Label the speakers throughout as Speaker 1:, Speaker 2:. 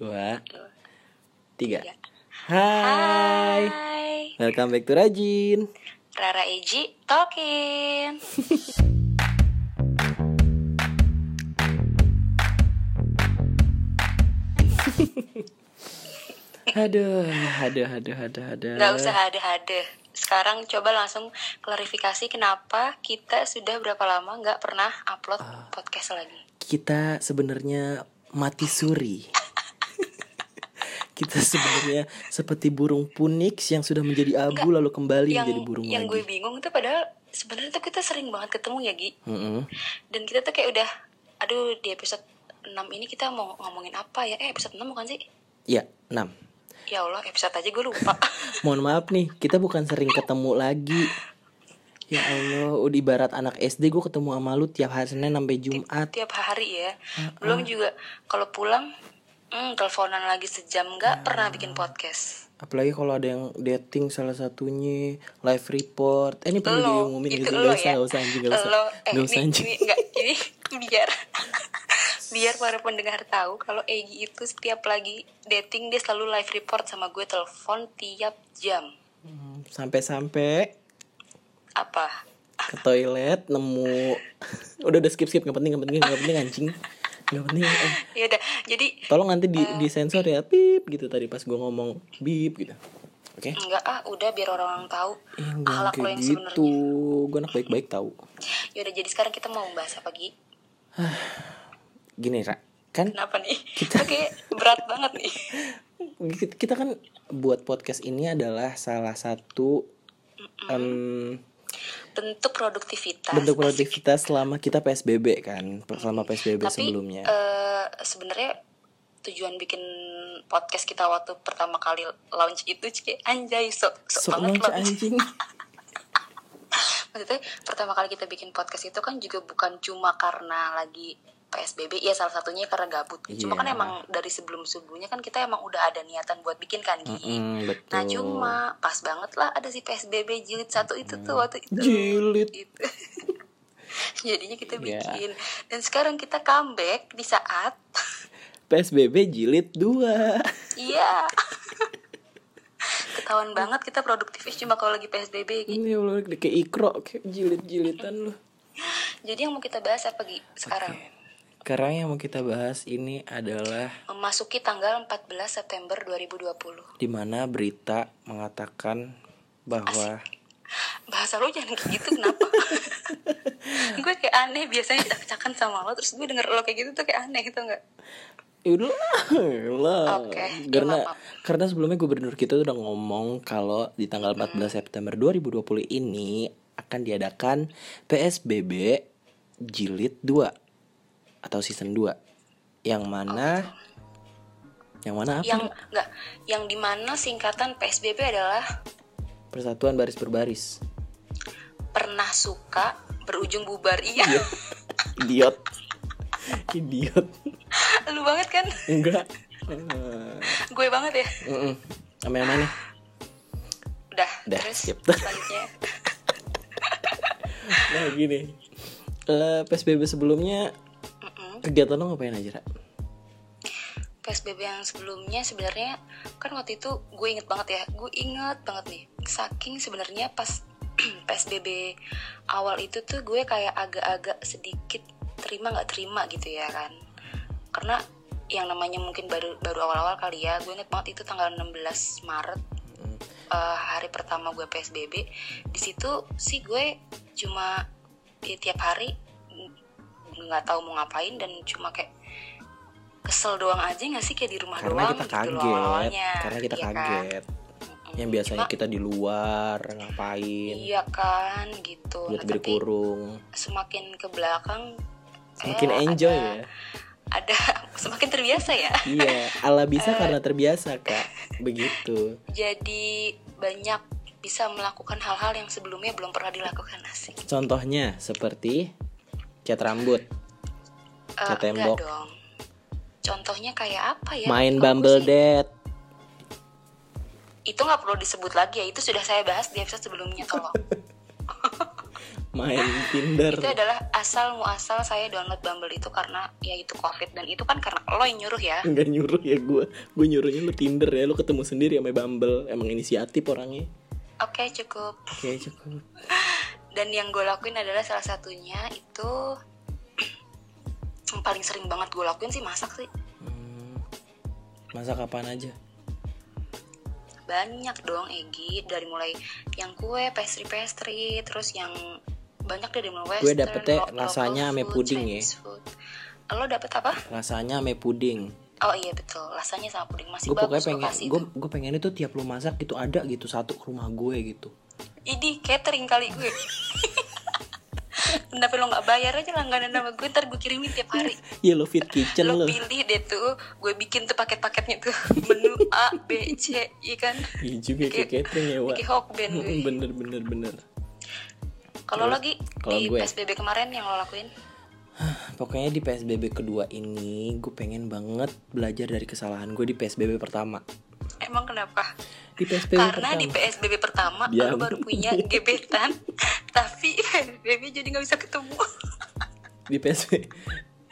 Speaker 1: dua, tiga.
Speaker 2: Tiga.
Speaker 1: Hai. welcome back to Rajin.
Speaker 2: Rara Eji Talkin.
Speaker 1: Aduh, aduh, aduh, aduh, aduh.
Speaker 2: Nggak usah hade-hade. Sekarang coba langsung klarifikasi kenapa kita sudah berapa lama nggak pernah upload
Speaker 1: Ah.
Speaker 2: podcast lagi.
Speaker 1: Kita sebenarnya mati suri. Kita sebenarnya seperti burung punix yang sudah menjadi abu lalu kembali
Speaker 2: yang
Speaker 1: menjadi burung
Speaker 2: yang gue
Speaker 1: lagi.
Speaker 2: bingung tuh padahal sebenarnya tuh kita sering banget ketemu ya Gi.
Speaker 1: Mm-mm.
Speaker 2: Dan kita tuh kayak udah, aduh di episode 6 ini kita mau ngomongin apa ya? Eh episode 6 bukan sih?
Speaker 1: Ya, enam.
Speaker 2: Ya Allah episode aja gue lupa.
Speaker 1: Mohon maaf nih, kita bukan sering ketemu lagi. Ya Allah, udah ibarat anak SD gue ketemu sama lu tiap hari Senin sampai Jumat.
Speaker 2: tiap hari ya
Speaker 1: Ah,
Speaker 2: belum juga kalau pulang hmm, teleponan lagi sejam
Speaker 1: Ah.
Speaker 2: nggak pernah bikin podcast
Speaker 1: Apalagi kalau ada yang dating salah satunya live report. Eh, ini perlu
Speaker 2: lo
Speaker 1: diumumin
Speaker 2: itu
Speaker 1: gitu.
Speaker 2: lo
Speaker 1: Gak usah,
Speaker 2: ya
Speaker 1: gak usah anjing, gak usah.
Speaker 2: lo eh
Speaker 1: Gak usah
Speaker 2: ini,
Speaker 1: anjing.
Speaker 2: ini nggak ini biar biar para pendengar tahu kalau Egi itu setiap lagi dating dia selalu live report sama gue telepon tiap jam
Speaker 1: Hmm, Sampai-sampai
Speaker 2: apa
Speaker 1: ke toilet nemu udah udah skip skip nggak penting nggak penting nggak penting anjing nggak penting eh,
Speaker 2: ya udah jadi
Speaker 1: tolong nanti di
Speaker 2: Eh.
Speaker 1: disensor ya pip gitu tadi pas gua ngomong bip gitu oke
Speaker 2: nggak ah udah biar orang-orang tahu
Speaker 1: eh, jangan
Speaker 2: akhlak lo
Speaker 1: kayak
Speaker 2: yang
Speaker 1: gitu
Speaker 2: sebenarnya
Speaker 1: gua anak baik baik tahu
Speaker 2: ya udah jadi sekarang kita mau bahas apa Gi
Speaker 1: gini ra kan
Speaker 2: kenapa nih
Speaker 1: Kita-
Speaker 2: oke berat banget nih
Speaker 1: kita kan buat podcast ini adalah salah satu mmm, em,
Speaker 2: bentuk produktivitas
Speaker 1: bentuk produktivitas selama kita PSBB kan selama PSBB
Speaker 2: tapi
Speaker 1: sebelumnya
Speaker 2: eh, sebenarnya tujuan bikin podcast kita waktu pertama kali launch itu cike anjay so, so,
Speaker 1: Sok
Speaker 2: banget
Speaker 1: launch
Speaker 2: launch.
Speaker 1: anjing
Speaker 2: maksudnya pertama kali kita bikin podcast itu kan juga bukan cuma karena lagi PSBB ya salah satunya karena gabut cuma
Speaker 1: Iya.
Speaker 2: kan emang dari sebelum sebelumnya kan kita emang udah ada niatan buat bikin kan Gi
Speaker 1: Mm, betul
Speaker 2: nah cuma pas banget lah ada si PSBB jilid satu itu tuh waktu itu
Speaker 1: Mm. jilid
Speaker 2: gitu. Jadinya kita
Speaker 1: Iya.
Speaker 2: bikin dan sekarang kita comeback di saat
Speaker 1: PSBB jilid 2
Speaker 2: iya. Ketahuan banget kita produktifis cuma kalau lagi PSBB gitu.
Speaker 1: Ini lu kayak ikro Kayak jilid-jilitan lu
Speaker 2: Jadi yang mau kita bahas apa Gi sekarang?
Speaker 1: Sekarang yang mau kita bahas ini adalah
Speaker 2: Memasuki tanggal 14 September 2020.
Speaker 1: Dimana berita mengatakan bahwa
Speaker 2: Bahasa lo jangan kayak gitu kenapa? gue kayak aneh biasanya cak-cakan sama lo terus gue denger lo kayak gitu tuh kayak aneh gitu enggak?
Speaker 1: Yaudah lah, lah.
Speaker 2: Oke, ya,
Speaker 1: Karena
Speaker 2: maaf.
Speaker 1: karena sebelumnya gubernur kita udah ngomong kalau di tanggal 14
Speaker 2: Hmm.
Speaker 1: September 2020 ini akan diadakan PSBB jilid 2 atau season 2. Yang mana Yang mana apa?
Speaker 2: Yang enggak yang dimana singkatan PSBB adalah
Speaker 1: Persatuan baris berbaris.
Speaker 2: pernah suka berujung bubar iya
Speaker 1: Idiot. Idiot. Iya.
Speaker 2: lu banget kan
Speaker 1: Enggak.
Speaker 2: gue banget ya
Speaker 1: Heeh. Sama yang mana?
Speaker 2: udah,
Speaker 1: Udah,
Speaker 2: terus
Speaker 1: skip.
Speaker 2: selanjutnya
Speaker 1: Nah, gini. Eh, PSBB sebelumnya
Speaker 2: Mm-mm.
Speaker 1: kegiatan lo ngapain aja, Ra?
Speaker 2: psbb yang sebelumnya sebenarnya kan waktu itu gue inget banget ya gue inget banget nih saking sebenarnya pas psbb awal itu tuh gue kayak agak-agak sedikit terima nggak terima gitu ya kan karena yang namanya mungkin baru baru awal-awal kali ya gue inget banget itu tanggal 16 maret eh, hari pertama gue PSBB di situ sih gue cuma ya, tiap hari mm, nggak tahu mau ngapain dan cuma kayak kesel doang aja nggak sih kayak di rumah
Speaker 1: karena
Speaker 2: doang
Speaker 1: kita
Speaker 2: gitu loh
Speaker 1: kaget
Speaker 2: awalnya,
Speaker 1: karena kita
Speaker 2: iya kan?
Speaker 1: kaget
Speaker 2: Mm-mm.
Speaker 1: yang biasanya
Speaker 2: Cuma,
Speaker 1: kita di luar ngapain
Speaker 2: iya kan gitu
Speaker 1: lihat
Speaker 2: Nah, tapi
Speaker 1: berkurung
Speaker 2: semakin ke belakang
Speaker 1: semakin
Speaker 2: eh,
Speaker 1: enjoy
Speaker 2: ada,
Speaker 1: ya
Speaker 2: ada semakin terbiasa ya
Speaker 1: iya ala bisa
Speaker 2: Eh.
Speaker 1: karena terbiasa kak begitu
Speaker 2: jadi banyak bisa melakukan hal-hal yang sebelumnya belum pernah dilakukan asik
Speaker 1: contohnya seperti cat rambut
Speaker 2: Eh,
Speaker 1: Ke
Speaker 2: enggak
Speaker 1: tembok.
Speaker 2: dong. Contohnya kayak apa ya?
Speaker 1: main
Speaker 2: Kalau
Speaker 1: bumble
Speaker 2: gue sih-
Speaker 1: date
Speaker 2: Itu nggak perlu disebut lagi ya. Itu sudah saya bahas di episode sebelumnya tolong.
Speaker 1: main Tinder.
Speaker 2: itu adalah asal muasal saya download Bumble itu karena ya itu covid dan itu kan karena lo yang nyuruh ya
Speaker 1: Enggak nyuruh ya gue Gue nyuruhnya lu Tinder ya Lu ketemu sendiri sama Bumble Emang inisiatif orangnya
Speaker 2: oke cukup
Speaker 1: Oke cukup
Speaker 2: dan yang gue lakuin adalah salah satunya itu yang paling sering banget gue lakuin sih masak sih
Speaker 1: Hmm, Masak apaan aja
Speaker 2: banyak dong Egi dari mulai yang kue pastry pastry terus yang banyak deh dari mulai
Speaker 1: Gue
Speaker 2: western,
Speaker 1: dapetnya
Speaker 2: lo- local
Speaker 1: rasanya ame
Speaker 2: food,
Speaker 1: puding ya.
Speaker 2: Chinese food. lo dapet apa
Speaker 1: Rasanya ame puding
Speaker 2: oh iya betul rasanya sama puding masih
Speaker 1: Gue pokoknya
Speaker 2: bagus gue
Speaker 1: pengen
Speaker 2: kasih
Speaker 1: Gue
Speaker 2: tuh.
Speaker 1: gue pengen itu tiap lu masak gitu Ada gitu satu ke rumah gue gitu
Speaker 2: ini catering kali gue tapi lo nggak bayar aja langganan sama gue ntar gue kirimin tiap hari
Speaker 1: Yellow Fit Kitchen Iya, lu
Speaker 2: lo pilih deh tuh gue bikin tuh paket-paketnya tuh menu A B C kan? ikan
Speaker 1: Iya juga kayak catering ya Wak
Speaker 2: bikin hokben gue
Speaker 1: Bener bener bener
Speaker 2: kalau lagi
Speaker 1: kalau
Speaker 2: di
Speaker 1: gue-
Speaker 2: PSBB kemarin yang lo lakuin
Speaker 1: Pokoknya di PSBB kedua ini Gue pengen banget belajar dari kesalahan gue di PSBB pertama
Speaker 2: emang kenapa
Speaker 1: Di PSBB
Speaker 2: karena
Speaker 1: pertama
Speaker 2: di PSBB pertama
Speaker 1: Diam.
Speaker 2: lo baru punya gebetan tapi PSBB jadi nggak bisa ketemu
Speaker 1: di PSB.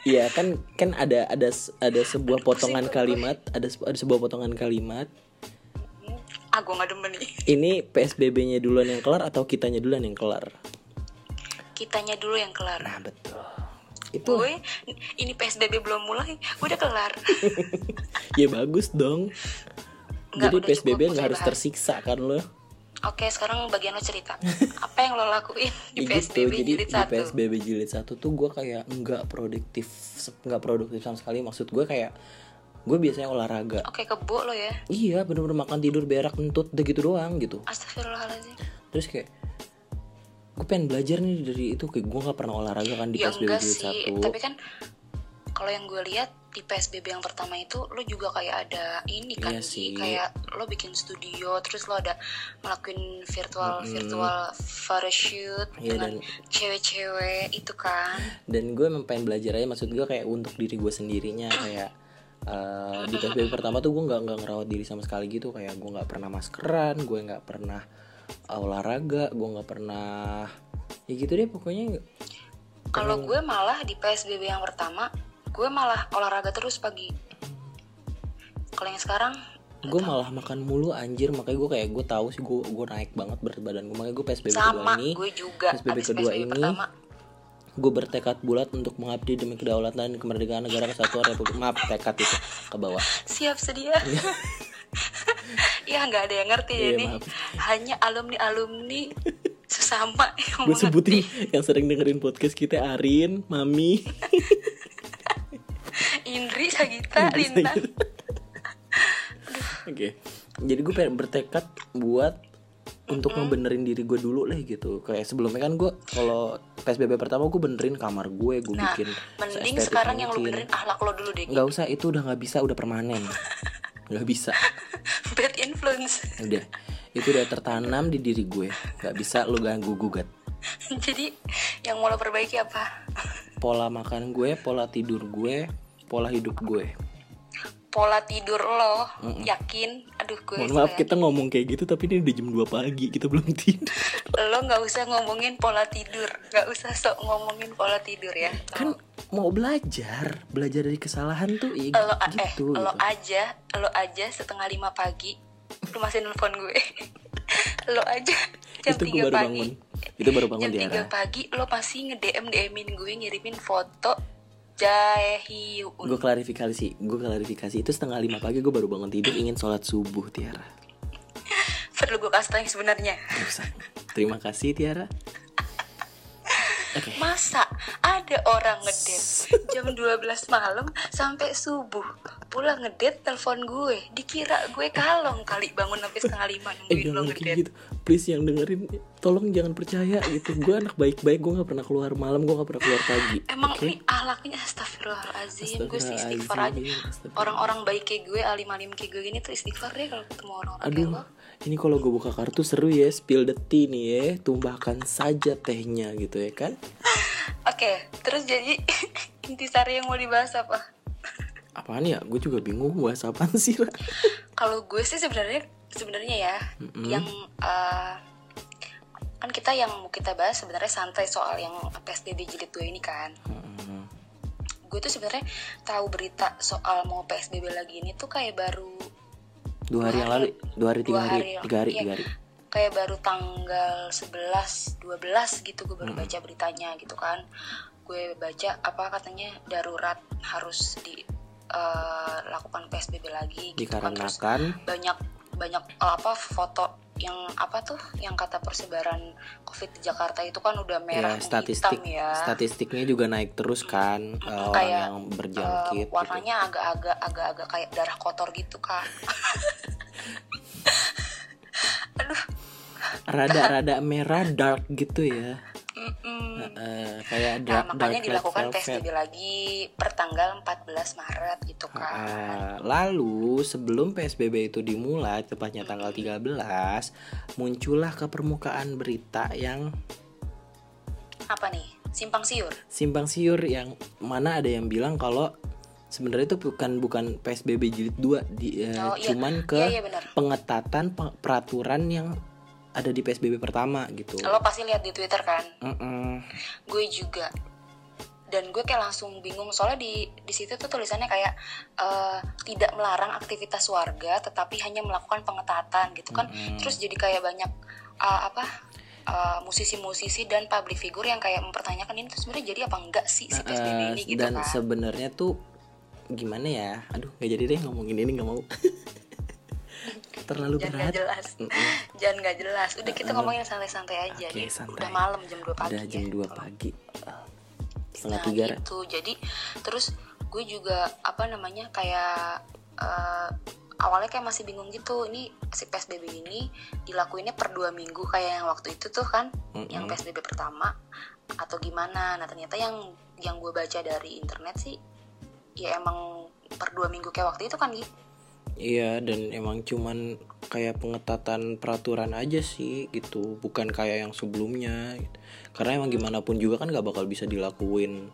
Speaker 1: Iya kan kan ada ada s- ada sebuah potongan kalimat, ada se- ada sebuah potongan kalimat.
Speaker 2: ah gue nggak demen nih
Speaker 1: Ini PSBB-nya duluan yang kelar atau kitanya duluan yang kelar?
Speaker 2: kitanya dulu yang kelar
Speaker 1: Nah, betul. Itu
Speaker 2: gue ini PSBB belum mulai gue udah kelar
Speaker 1: ya bagus dong.
Speaker 2: Nggak,
Speaker 1: Jadi
Speaker 2: udah
Speaker 1: PSBB
Speaker 2: cukup,
Speaker 1: nggak harus
Speaker 2: usah dibahas.
Speaker 1: tersiksa kan lo?
Speaker 2: oke sekarang bagian lo cerita apa yang lo lakuin
Speaker 1: Ya
Speaker 2: di
Speaker 1: gitu.
Speaker 2: PSBB
Speaker 1: Jadi
Speaker 2: jilid
Speaker 1: di
Speaker 2: satu
Speaker 1: PSBB jilid satu tuh gue kayak nggak produktif, se- nggak produktif sama sekali. Maksud gue kayak gue biasanya olahraga.
Speaker 2: oke kebo lo ya
Speaker 1: Iya, bener-bener makan tidur berak kentut udah gitu doang gitu.
Speaker 2: Astagfirullahaladzim
Speaker 1: terus kayak gue pengen belajar nih dari itu kayak gue nggak pernah olahraga kan di
Speaker 2: Ya
Speaker 1: PSBB
Speaker 2: enggak
Speaker 1: jilid
Speaker 2: sih,
Speaker 1: satu
Speaker 2: tapi kan kalau yang gue lihat di PSBB yang pertama itu lo juga kayak ada ini kan
Speaker 1: Iya
Speaker 2: Gi.
Speaker 1: sih.
Speaker 2: kayak lo bikin studio terus lo ada ngelakuin virtual virtual photoshoot
Speaker 1: Iya,
Speaker 2: dengan
Speaker 1: dan-
Speaker 2: cewek-cewek itu kan
Speaker 1: dan gue emang pengen belajar aja maksud gue kayak untuk diri gue sendirinya kayak eh, di PSBB pertama tuh gue nggak nggak ngerawat diri sama sekali gitu kayak gue nggak pernah maskeran gue nggak pernah eh, olahraga gue nggak pernah ya gitu deh pokoknya
Speaker 2: kalau gue malah di PSBB yang pertama gue malah olahraga terus pagi kalau yang sekarang
Speaker 1: gue malah makan mulu anjir makanya gue kayak gue tahu sih gue gue naik banget berat badan gue makanya gue PSBB kedua
Speaker 2: sama
Speaker 1: ini
Speaker 2: gue juga
Speaker 1: PSBB
Speaker 2: Abis
Speaker 1: kedua ini,
Speaker 2: pertama
Speaker 1: Gue bertekad bulat untuk mengabdi demi kedaulatan dan kemerdekaan negara kesatuan Republik Maaf, tekad itu ke bawah.
Speaker 2: siap sedia ya nggak ada yang ngerti
Speaker 1: Iya,
Speaker 2: ini
Speaker 1: maaf.
Speaker 2: hanya alumni alumni sesama
Speaker 1: Gue
Speaker 2: yang mengerti.
Speaker 1: sebutin yang sering dengerin podcast kita Arin, Mami,
Speaker 2: Indri Sagita Lintang
Speaker 1: Oke. Jadi gue pengen bertekad buat untuk ngebenerin diri gue dulu lah gitu. Kayak sebelumnya kan gue kalau PSBB pertama gue benerin kamar gue, gue
Speaker 2: nah
Speaker 1: bikin
Speaker 2: mending
Speaker 1: seestetik
Speaker 2: sekarang yang lu
Speaker 1: mungkin.
Speaker 2: benerin ahlak lo dulu deh
Speaker 1: Nggak usah itu udah nggak bisa, udah permanen. nggak bisa.
Speaker 2: bad influence
Speaker 1: Udah. Itu udah tertanam di diri gue. Nggak bisa lu ganggu gugat.
Speaker 2: jadi yang mau lo perbaiki apa
Speaker 1: Pola makan gue, pola tidur gue, pola hidup gue.
Speaker 2: pola tidur lo yakin aduh gue
Speaker 1: Mohon maaf
Speaker 2: suka.
Speaker 1: kita ngomong kayak gitu tapi ini udah jam 2 pagi, kita belum tidur.
Speaker 2: lo nggak usah ngomongin pola tidur nggak usah sok ngomongin pola tidur ya
Speaker 1: kan mau belajar belajar dari kesalahan tuh ya
Speaker 2: lo
Speaker 1: gitu,
Speaker 2: eh
Speaker 1: gitu.
Speaker 2: lo aja lo aja setengah lima pagi lu masih nelfon gue lo aja jam
Speaker 1: itu gue
Speaker 2: tiga
Speaker 1: baru bangun
Speaker 2: pagi
Speaker 1: itu baru bangun
Speaker 2: jam
Speaker 1: di
Speaker 2: tiga
Speaker 1: arah
Speaker 2: pagi lo masih nge DM DMin gue ngirimin foto Jaehyun
Speaker 1: gue klarifikasi gue klarifikasi itu setengah lima pagi gue baru bangun tidur ingin sholat subuh Tiara
Speaker 2: perlu gue kasih tau yang sebenarnya
Speaker 1: Gak usah. terima kasih Tiara oke
Speaker 2: masa ada orang ngedet jam 12 malam sampai subuh pulang ngedet telepon gue dikira gue kalong kali bangun sampai setengah lima
Speaker 1: eh
Speaker 2: nungguin lo
Speaker 1: jangan kayak
Speaker 2: ngedet
Speaker 1: gitu please yang dengerin tolong jangan percaya gitu gue anak baik-baik gue nggak pernah keluar malam gue nggak pernah keluar pagi
Speaker 2: Emang
Speaker 1: oke?
Speaker 2: ini ahlaknya astagfirullahalazim Gue sih istighfar aja
Speaker 1: Astagfirullahalazim, astagfirullah.
Speaker 2: Orang-orang baik kayak gue, alim-alim kayak gue gini tuh istighfar deh kalau ketemu orang-orang kayak
Speaker 1: Aduh,
Speaker 2: lo
Speaker 1: ini kalau gue buka kartu seru ya, spill the tea nih ya, tumbahkan saja tehnya gitu ya kan?
Speaker 2: Oke, terus jadi intisari yang mau dibahas apa?
Speaker 1: Apaan ya? Gue juga bingung bahas apaan sih Ra?
Speaker 2: Kalau gue sih sebenarnya sebenarnya ya Yang eh, kan kita yang mau kita bahas sebenarnya santai soal yang PSBB jilid 2 ini kan
Speaker 1: Mm-mm.
Speaker 2: gue tuh sebenarnya tahu berita soal mau PSBB lagi ini tuh kayak baru
Speaker 1: dua hari yang lalu dua hari tiga
Speaker 2: Dua
Speaker 1: hari
Speaker 2: hari,
Speaker 1: tiga hari
Speaker 2: iya.
Speaker 1: tiga hari
Speaker 2: kayak baru tanggal 11 12 gitu gue baru
Speaker 1: Hmm.
Speaker 2: baca beritanya gitu kan gue baca apa katanya darurat harus eh, dilakukan PSBB lagi gitu kan terus
Speaker 1: dikarenakan
Speaker 2: banyak banyak eh, apa foto yang apa tuh yang kata persebaran COVID di Jakarta itu kan udah
Speaker 1: ya
Speaker 2: merah menghitam
Speaker 1: statistik
Speaker 2: ya
Speaker 1: statistiknya juga naik terus kan eh,
Speaker 2: kayak,
Speaker 1: orang yang
Speaker 2: Eh,
Speaker 1: berjangkit gitu.
Speaker 2: warnanya agak-agak agak-agak kayak darah kotor gitu kan
Speaker 1: rada-rada merah dark gitu ya
Speaker 2: Mm-mm.
Speaker 1: Eh, kayak
Speaker 2: Nah,
Speaker 1: dark
Speaker 2: makanya
Speaker 1: dark red
Speaker 2: dilakukan kan.
Speaker 1: velvet.
Speaker 2: PSBB lagi per tanggal 14 Maret gitu kan.
Speaker 1: Ah, Lalu sebelum PSBB itu dimulai tepatnya tanggal 13 muncullah ke permukaan berita yang ah.
Speaker 2: Apa nih? Simpang siur.
Speaker 1: simpang siur yang mana ada yang bilang kalau sebenarnya itu bukan bukan PSBB jilid 2 di, eh,
Speaker 2: Oh, iya.
Speaker 1: cuman
Speaker 2: Iya,
Speaker 1: ke
Speaker 2: iya benar.
Speaker 1: pengetatan pe- peraturan yang ada di PSBB pertama gitu.
Speaker 2: Lo pasti lihat di Twitter kan.
Speaker 1: Mm-mm.
Speaker 2: Gue juga. Dan gue kayak langsung bingung soalnya di di situ tuh tulisannya kayak eh, tidak melarang aktivitas warga tetapi hanya melakukan pengetatan gitu kan.
Speaker 1: Mm-mm.
Speaker 2: Terus jadi kayak banyak eh, apa? eh, musisi-musisi dan public figure yang kayak mempertanyakan ini tuh sebenarnya jadi apa enggak sih si PSBB
Speaker 1: Eh,
Speaker 2: ini gitu
Speaker 1: dan
Speaker 2: kan.
Speaker 1: sebenarnya tuh gimana ya? Aduh, nggak jadi deh ngomongin ini nggak mau. Terlalu
Speaker 2: Jangan
Speaker 1: berat.
Speaker 2: nggak jelas.
Speaker 1: Mm-mm.
Speaker 2: Jangan nggak jelas. Udah kita
Speaker 1: Uh-uh.
Speaker 2: ngomongin yang santai-santai aja.
Speaker 1: Oke,
Speaker 2: Ini
Speaker 1: santai.
Speaker 2: Udah malam jam 2 pagi.
Speaker 1: Udah jam
Speaker 2: ya.
Speaker 1: 2 pagi. Eh, Setengah
Speaker 2: Nah,
Speaker 1: tiga. Ra.
Speaker 2: gitu. Jadi terus gue juga apa namanya kayak eh, awalnya kayak masih bingung gitu. Ini si PSBB ini dilakuinnya per dua minggu kayak yang waktu itu tuh kan,
Speaker 1: Mm-mm.
Speaker 2: yang PSBB pertama atau gimana. Nah, ternyata yang yang gue baca dari internet sih ya emang per dua minggu kayak waktu itu kan gitu.
Speaker 1: Iya, dan emang cuman kayak pengetatan peraturan aja sih gitu, bukan kayak yang sebelumnya. gitu. Karena emang gimana pun juga kan nggak bakal bisa dilakuin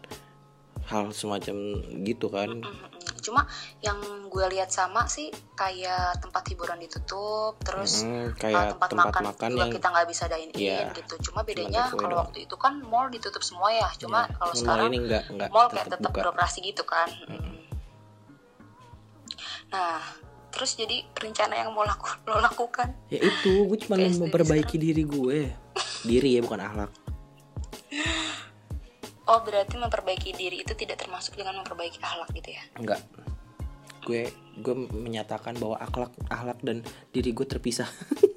Speaker 1: hal semacam gitu kan.
Speaker 2: Mm-mm. Cuma yang gue lihat sama sih kayak tempat hiburan ditutup, terus
Speaker 1: Mm,
Speaker 2: uh,
Speaker 1: kayak
Speaker 2: tempat, makan, juga
Speaker 1: yang
Speaker 2: kita nggak bisa dine in
Speaker 1: Iya.
Speaker 2: gitu. Cuma bedanya
Speaker 1: takeaway
Speaker 2: kalau
Speaker 1: doang.
Speaker 2: waktu itu kan mall ditutup semua ya. Cuma
Speaker 1: Iya,
Speaker 2: kalau
Speaker 1: cuman
Speaker 2: sekarang
Speaker 1: ini nggak nggak
Speaker 2: mall kayak
Speaker 1: tetap
Speaker 2: tetap
Speaker 1: buka.
Speaker 2: beroperasi gitu kan. Nah, terus jadi rencana yang mau laku, lo lakukan
Speaker 1: Ya itu, gue cuma
Speaker 2: PSBB
Speaker 1: memperbaiki diri gue. Diri ya bukan akhlak.
Speaker 2: Oh berarti memperbaiki diri itu tidak termasuk dengan memperbaiki akhlak gitu ya
Speaker 1: Enggak. Gue gue menyatakan bahwa akhlak akhlak dan diri gue terpisah.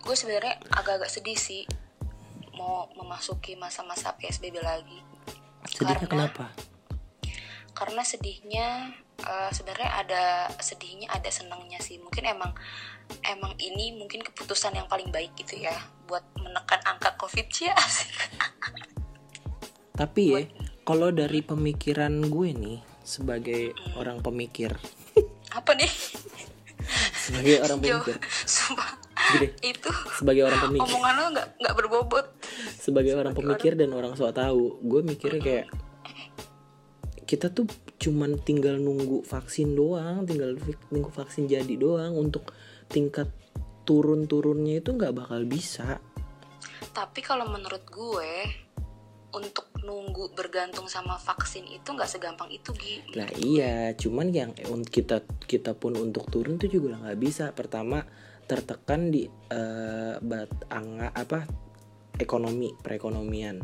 Speaker 2: Gue sebenarnya agak-agak sedih sih Mau memasuki masa-masa PSBB lagi
Speaker 1: Sedihnya
Speaker 2: Karena-
Speaker 1: kenapa?
Speaker 2: karena sedihnya eh, sebenarnya ada sedihnya ada senangnya sih mungkin emang emang ini mungkin keputusan yang paling baik gitu ya buat menekan angka covid sih asik
Speaker 1: Tapi ya, kalau dari pemikiran gue nih sebagai orang pemikir,
Speaker 2: apa nih
Speaker 1: sebagai orang
Speaker 2: jauh
Speaker 1: pemikir,
Speaker 2: sumpah
Speaker 1: Gede.
Speaker 2: itu
Speaker 1: sebagai orang pemikir,
Speaker 2: omongan lo nggak nggak berbobot
Speaker 1: sebagai orang pemikir dan orang sok tahu, gue mikirnya kayak kita tuh cuman tinggal nunggu vaksin doang, tinggal vi- nunggu vaksin jadi doang untuk tingkat turun-turunnya itu nggak bakal bisa.
Speaker 2: tapi kalau menurut gue untuk nunggu bergantung sama vaksin itu nggak segampang itu Gi.
Speaker 1: Nah iya, cuman yang un- kita kita pun untuk turun tuh juga nggak bisa. Pertama tertekan di eh, bat angga apa ekonomi perekonomian.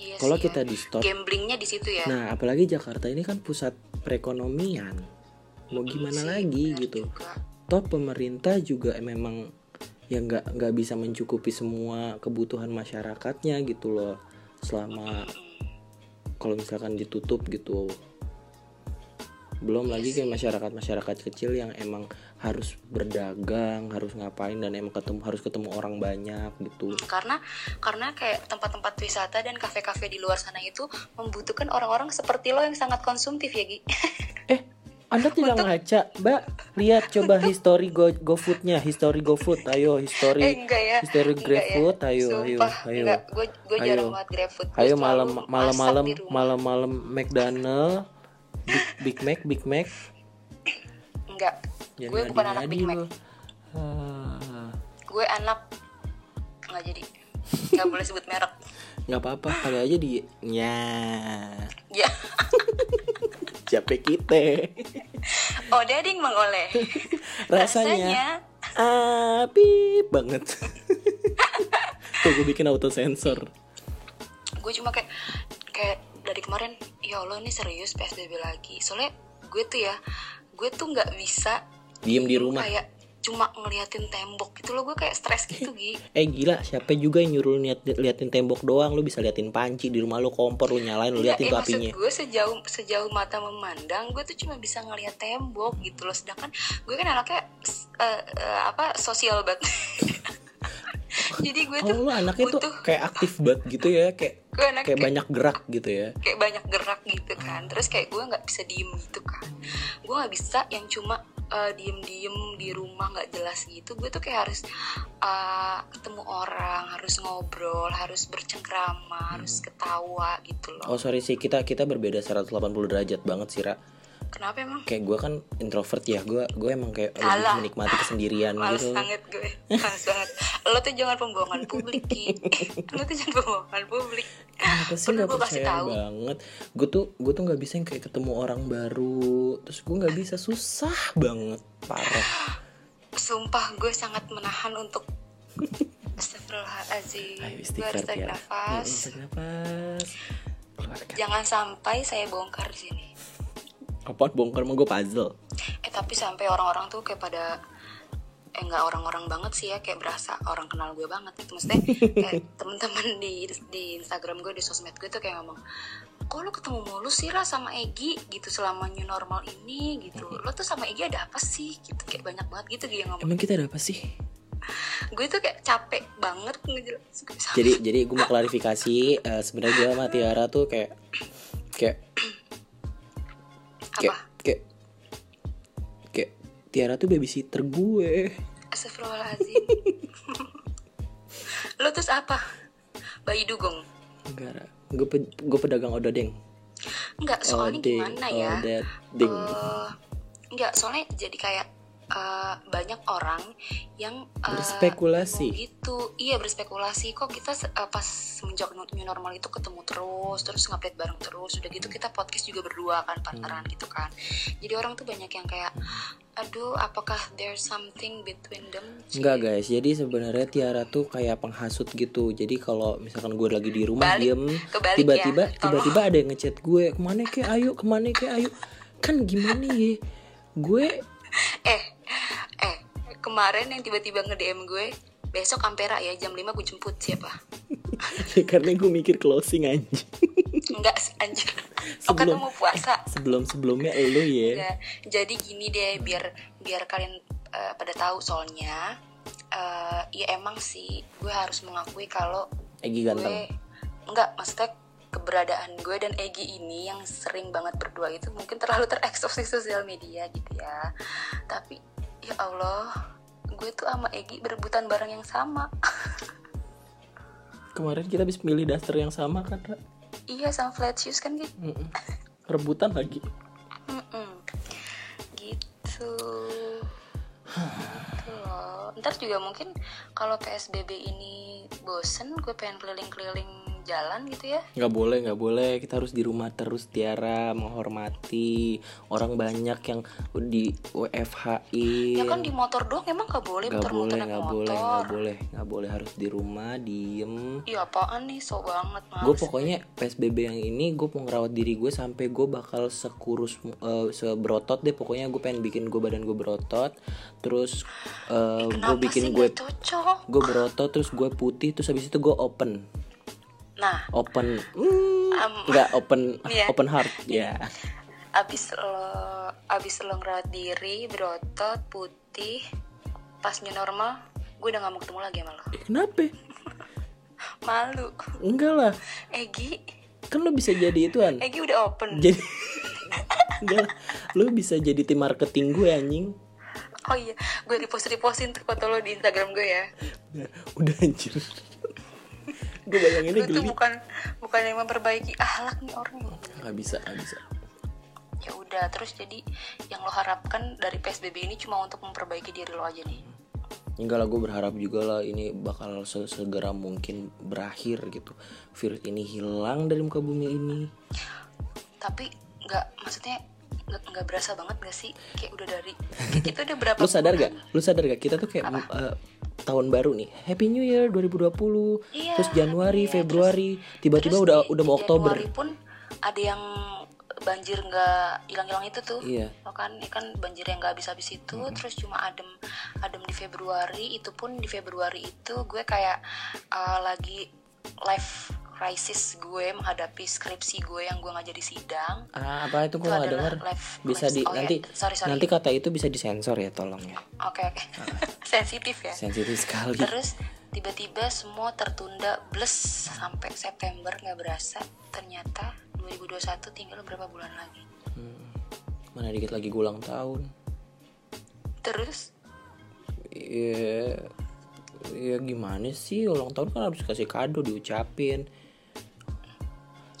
Speaker 2: Iya
Speaker 1: Kalau
Speaker 2: sih
Speaker 1: kita
Speaker 2: ya.
Speaker 1: di stop,
Speaker 2: gamblingnya di situ ya
Speaker 1: nah apalagi Jakarta ini kan pusat perekonomian. Mau gimana
Speaker 2: Sih,
Speaker 1: lagi
Speaker 2: benar
Speaker 1: gitu?
Speaker 2: juga.
Speaker 1: Toh pemerintah juga memang ya nggak nggak bisa mencukupi semua kebutuhan masyarakatnya gitu loh. Selama
Speaker 2: Mm-mm.
Speaker 1: kalau misalkan ditutup gitu belum
Speaker 2: Iya
Speaker 1: lagi
Speaker 2: sih.
Speaker 1: kayak masyarakat masyarakat kecil yang emang harus berdagang harus ngapain dan emang ketemu harus ketemu orang banyak gitu
Speaker 2: karena karena kayak tempat-tempat wisata dan kafe-kafe di luar sana itu membutuhkan orang-orang seperti lo yang sangat konsumtif ya Gi.
Speaker 1: anda tidak ngaca mbak lihat coba history go gofoodnya history gofood ayo
Speaker 2: eh
Speaker 1: history
Speaker 2: enggak ya.
Speaker 1: history
Speaker 2: Enggak ya.
Speaker 1: GrabFood ayo ayo
Speaker 2: Sumpah,
Speaker 1: ayo
Speaker 2: enggak. Gue gue
Speaker 1: Ayo.
Speaker 2: jarang banget GrabFood. Gue
Speaker 1: ayo
Speaker 2: selalu
Speaker 1: malam
Speaker 2: masak
Speaker 1: malam malam
Speaker 2: di rumah.
Speaker 1: malam malam McDonald Big, Big Mac Big Mac
Speaker 2: Enggak.
Speaker 1: Jangan
Speaker 2: gue bukan anak
Speaker 1: ngadi-ngadi
Speaker 2: Big Mac.
Speaker 1: lu. Ah.
Speaker 2: Gue anak enggak jadi. nggak boleh sebut merek
Speaker 1: nggak apa-apa kali aja di nya
Speaker 2: ya
Speaker 1: siapa kita
Speaker 2: oh dading mengoleh
Speaker 1: rasanya, api banget tuh gue bikin auto sensor
Speaker 2: gue cuma kayak kayak dari kemarin ya allah ini serius psbb lagi soalnya gue tuh ya gue tuh nggak bisa
Speaker 1: diem di rumah
Speaker 2: kayak cuma ngeliatin tembok gitu loh gue kayak stres gitu Gi
Speaker 1: eh gila siapa juga yang nyuruh liat, liatin tembok doang lu bisa liatin panci di rumah lu kompor lu nyalain lu liatin
Speaker 2: Iya, eh,
Speaker 1: tuh
Speaker 2: maksud
Speaker 1: apinya
Speaker 2: gue sejauh sejauh mata memandang gue tuh cuma bisa ngeliat tembok gitu loh sedangkan gue kan anaknya s- eh, eh, apa sosial banget jadi gue tuh
Speaker 1: oh lu anaknya tuh
Speaker 2: butuh
Speaker 1: kayak aktif banget gitu ya kayak
Speaker 2: gue anak
Speaker 1: kayak banyak gerak gitu ya
Speaker 2: kayak banyak gerak gitu
Speaker 1: Hmm.
Speaker 2: kan terus kayak gue nggak bisa diem gitu kan gue nggak bisa yang cuma eh, diem-diem di rumah nggak jelas gitu gue tuh kayak harus eh, ketemu orang harus ngobrol harus bercengkrama harus ketawa gitu loh
Speaker 1: Hmm. oh sorry sih kita kita berbeda 180 derajat banget sih Ra
Speaker 2: kenapa emang
Speaker 1: kayak gue kan introvert ya gue gue emang kayak lebih
Speaker 2: Alah.
Speaker 1: menikmati kesendirian
Speaker 2: Males
Speaker 1: gitu
Speaker 2: banget gue Males banget Lo tuh jangan pembohongan publik Ki Lo tuh jangan pembohongan publik
Speaker 1: Kenapa sih
Speaker 2: Perlu
Speaker 1: gak
Speaker 2: gue kasih
Speaker 1: percaya
Speaker 2: tahu.
Speaker 1: banget Gue tuh gue tuh gak bisa yang kayak ketemu orang baru Terus gue gak bisa susah banget Parah
Speaker 2: Sumpah gue sangat menahan untuk Astagfirullahaladzim
Speaker 1: Ayo
Speaker 2: Gue
Speaker 1: istighfar
Speaker 2: harus tarik
Speaker 1: Tiara Mm,
Speaker 2: nafas
Speaker 1: Tarik nafas Keluarkan
Speaker 2: Jangan sampai saya bongkar di sini
Speaker 1: Apaan bongkar emang gue puzzle
Speaker 2: Eh tapi sampai orang-orang tuh kayak pada eh nggak orang-orang banget sih ya kayak berasa orang kenal gue banget gitu maksudnya kayak temen-temen di di Instagram gue di sosmed gue tuh kayak ngomong kok lo ketemu mulu sih lah sama Egi gitu selama new normal ini gitu lo tuh sama Egi ada apa sih gitu kayak banyak banget gitu dia ngomong
Speaker 1: Emang kita ada apa sih?
Speaker 2: gue tuh kayak capek banget ngejelas
Speaker 1: Jadi jadi gue mau klarifikasi eh, sebenarnya gue sama Tiara tuh kayak Kayak
Speaker 2: apa
Speaker 1: Kayak Kayak Kayak Tiara tuh babysitter gue
Speaker 2: Astagfirullahaladzim lo terus apa bayi dugong
Speaker 1: Enggak Ra. Gue pe- gue pedagang odadeng
Speaker 2: Enggak, soalnya
Speaker 1: Odadeng,
Speaker 2: gimana ya
Speaker 1: Odadeng
Speaker 2: Eh, nggak soalnya jadi kayak eh, banyak orang yang eh,
Speaker 1: Berspekulasi.
Speaker 2: ngomong gitu iya berspekulasi kok kita se- eh, pas semenjak nu- new normal itu ketemu terus terus ngupdate bareng terus udah gitu kita podcast juga berdua kan partneran gitu kan jadi orang tuh banyak yang kayak aduh apakah there's something between them
Speaker 1: Enggak guys, jadi sebenarnya Tiara tuh kayak penghasut gitu. Jadi kalau misalkan gue lagi di rumah
Speaker 2: Kebalik- ya,
Speaker 1: diem,
Speaker 2: kebalik
Speaker 1: tiba-tiba
Speaker 2: ya, tolong.
Speaker 1: tiba-tiba ada yang ngechat gue, kemana ke ayo, kemana ke ayo. Kan gimana ya? Gue
Speaker 2: eh eh kemarin yang tiba-tiba nge DM gue besok Ampera ya jam 5 gue jemput siapa
Speaker 1: ya karena gue mikir closing anjing.
Speaker 2: Enggak sih, anjir. Oh, kan
Speaker 1: Sebelum-
Speaker 2: lu mau puasa.
Speaker 1: Sebelum-sebelumnya elu ya.
Speaker 2: Enggak. Jadi gini deh biar biar kalian eh, pada tahu soalnya eh, ya emang sih gue harus mengakui kalau
Speaker 1: Egi
Speaker 2: gue
Speaker 1: ganteng.
Speaker 2: enggak maksudnya keberadaan gue dan Egi ini yang sering banget berdua itu mungkin terlalu terekspos di sosial media gitu ya. Tapi ya Allah, gue tuh sama Egi berebutan barang yang sama.
Speaker 1: Kemarin kita habis milih daster yang sama kan, Ra?
Speaker 2: iya, sama flat shoes kan gitu.
Speaker 1: Mm-mm. Rebutan lagi.
Speaker 2: Mm-mm. gitu Gitu loh. ntar juga mungkin kalau psbb ini bosen gue pengen keliling-keliling jalan gitu ya
Speaker 1: nggak boleh nggak boleh kita harus di rumah terus Tiara menghormati orang banyak yang di WFH-in
Speaker 2: ya kan di motor doang emang gak boleh
Speaker 1: Iya. nggak boleh
Speaker 2: muter-muter naik
Speaker 1: nggak boleh
Speaker 2: motor
Speaker 1: nggak boleh nggak boleh harus di rumah diem
Speaker 2: iya apaan nih so banget mas
Speaker 1: gue pokoknya psbb yang ini gue mau ngerawat diri gue sampai gue bakal sekurus eh, seberotot deh pokoknya gue pengen bikin gue badan gue berotot terus gue
Speaker 2: Kenapa sih
Speaker 1: bikin
Speaker 2: nggak
Speaker 1: gue
Speaker 2: cocok
Speaker 1: gue berotot terus gue putih terus habis itu gue open
Speaker 2: nah
Speaker 1: open mm,
Speaker 2: Am.
Speaker 1: nggak open
Speaker 2: Iya.
Speaker 1: open heart ya
Speaker 2: abis lo abis lo ngerawat diri berotot putih pas new normal gue udah gak mau ketemu lagi sama lo
Speaker 1: Eh, kenapa
Speaker 2: malu
Speaker 1: enggak lah
Speaker 2: Egi
Speaker 1: kan lo bisa jadi ituan
Speaker 2: Egi udah open
Speaker 1: jadi enggak lah. lo bisa jadi tim marketing gue anjing
Speaker 2: Oh iya, gue repost-repostin tuh foto lo di Instagram gue ya.
Speaker 1: udah, udah anjir gue bayanginnya
Speaker 2: Lu tuh
Speaker 1: geli
Speaker 2: bukan bukan yang memperbaiki ahlak nih orang.
Speaker 1: nggak bisa nggak bisa
Speaker 2: Ya udah, terus jadi yang lo harapkan dari PSBB ini cuma untuk memperbaiki diri lo aja nih.
Speaker 1: Enggak Ya lah gue berharap juga lah ini bakal se- segera mungkin berakhir gitu Virus ini hilang dari muka bumi ini
Speaker 2: tapi nggak maksudnya nggak nggak berasa banget gak sih kayak udah dari kayak kita udah berapa
Speaker 1: Lu sadar
Speaker 2: bulan.
Speaker 1: gak? Lu sadar gak? Kita tuh kayak eh, tahun baru nih Happy New Year 2020
Speaker 2: Iya,
Speaker 1: Terus Januari,
Speaker 2: iya,
Speaker 1: Februari Tiba-tiba
Speaker 2: Terus
Speaker 1: udah
Speaker 2: di-
Speaker 1: udah mau
Speaker 2: di
Speaker 1: Oktober
Speaker 2: Januari pun ada yang banjir nggak hilang-hilang itu tuh
Speaker 1: Iya.
Speaker 2: Lo kan ini kan banjir yang nggak habis-habis itu terus cuma adem adem di Februari itu pun di Februari itu gue kayak uh, lagi life crisis gue menghadapi skripsi gue yang gue nggak jadi sidang
Speaker 1: Ah, apa itu gue
Speaker 2: Itu
Speaker 1: nggak
Speaker 2: adalah
Speaker 1: dengar
Speaker 2: live
Speaker 1: bisa
Speaker 2: mix.
Speaker 1: di
Speaker 2: Oh, ya.
Speaker 1: nanti
Speaker 2: Sorry, sorry.
Speaker 1: nanti kata itu bisa disensor ya tolong ya
Speaker 2: oke oke sensitif ya
Speaker 1: sensitif sekali
Speaker 2: Terus tiba-tiba semua tertunda bles sampai September nggak berasa. Ternyata 2021 tinggal berapa bulan lagi.
Speaker 1: mana dikit lagi gue ulang tahun
Speaker 2: Terus
Speaker 1: ya ya gimana sih ulang tahun kan harus kasih kado diucapin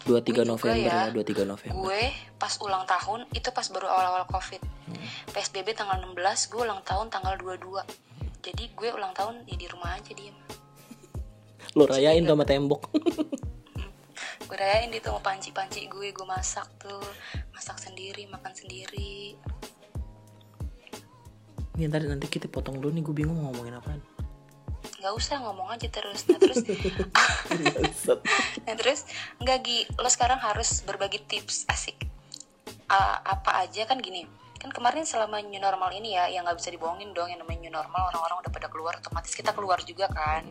Speaker 1: 23
Speaker 2: Gue juga
Speaker 1: November
Speaker 2: ya.
Speaker 1: ya, 23 November
Speaker 2: gue pas ulang tahun itu pas baru awal-awal Covid. PSBB tanggal 16, gue ulang tahun tanggal 22. Jadi gue ulang tahun ya di rumah aja diem.
Speaker 1: lo rayain tuh sama tembok
Speaker 2: Gue rayain di tuh sama panci-panci gue, gue masak tuh, masak sendiri, makan sendiri.
Speaker 1: Nih ntar nanti kita potong dulu nih gue bingung mau ngomongin apaan
Speaker 2: Nggak usah ngomong aja terus. Nah terus Nah terus nggak Gi, lo sekarang harus berbagi tips asik Uh, apa aja kan gini kan kemarin selama new normal ini ya yang nggak bisa dibohongin dong yang namanya new normal orang-orang udah pada keluar otomatis kita keluar juga kan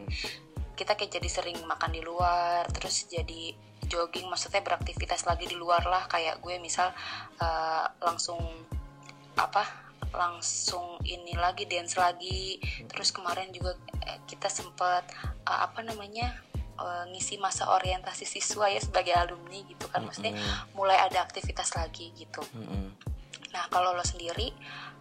Speaker 2: kita kayak jadi sering makan di luar terus jadi jogging maksudnya beraktivitas lagi di luar lah kayak gue misal uh, langsung apa langsung ini lagi dance lagi terus kemarin juga eh, kita sempet eh, apa namanya eh, ngisi masa orientasi siswa ya sebagai alumni gitu
Speaker 1: Hmm,
Speaker 2: kan maksudnya mulai ada aktivitas lagi gitu
Speaker 1: Mm-mm.
Speaker 2: nah kalau lo sendiri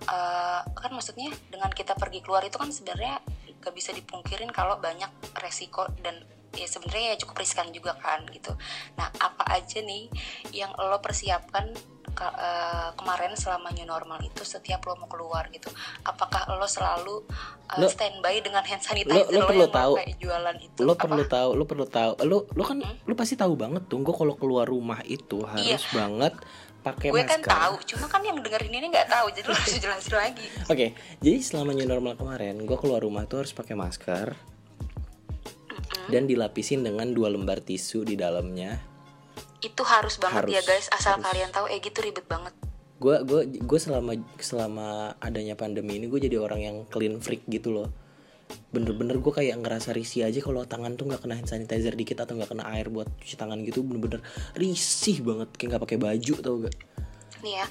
Speaker 2: eh, kan maksudnya dengan kita pergi keluar itu kan sebenarnya gak bisa dipungkirin kalau banyak resiko dan ya sebenarnya ya cukup riskan juga kan gitu nah apa aja nih yang lo persiapkan ke- eh, kemarin selama new normal itu setiap lo mau keluar gitu apakah lo selalu eh,
Speaker 1: Lo-
Speaker 2: standby dengan hand sanitizer
Speaker 1: lo perlu
Speaker 2: yang
Speaker 1: tahu.
Speaker 2: pakai jualan itu
Speaker 1: lo
Speaker 2: Apa?
Speaker 1: perlu tahu lo perlu tahu lo lo kan lo pasti tahu banget tuh gue kalau keluar rumah itu harus banget pakai
Speaker 2: Iya. gue kan
Speaker 1: masker
Speaker 2: tahu cuma kan yang dengerin ini nggak tahu jadi lo harus jelasin lagi
Speaker 1: oke jadi selama new normal kemarin gue keluar rumah tuh harus pakai masker dan dilapisin dengan dua lembar tisu di dalamnya
Speaker 2: itu harus banget
Speaker 1: Harus,
Speaker 2: ya guys asal
Speaker 1: harus.
Speaker 2: kalian tahu eh gitu ribet banget
Speaker 1: gue gue gue selama selama adanya pandemi ini gue jadi orang yang clean freak gitu loh bener-bener gue kayak ngerasa risih aja kalau tangan tuh nggak kena hand sanitizer dikit atau nggak kena air buat cuci tangan gitu bener-bener risih banget kayak nggak pakai baju tau gak
Speaker 2: nih ya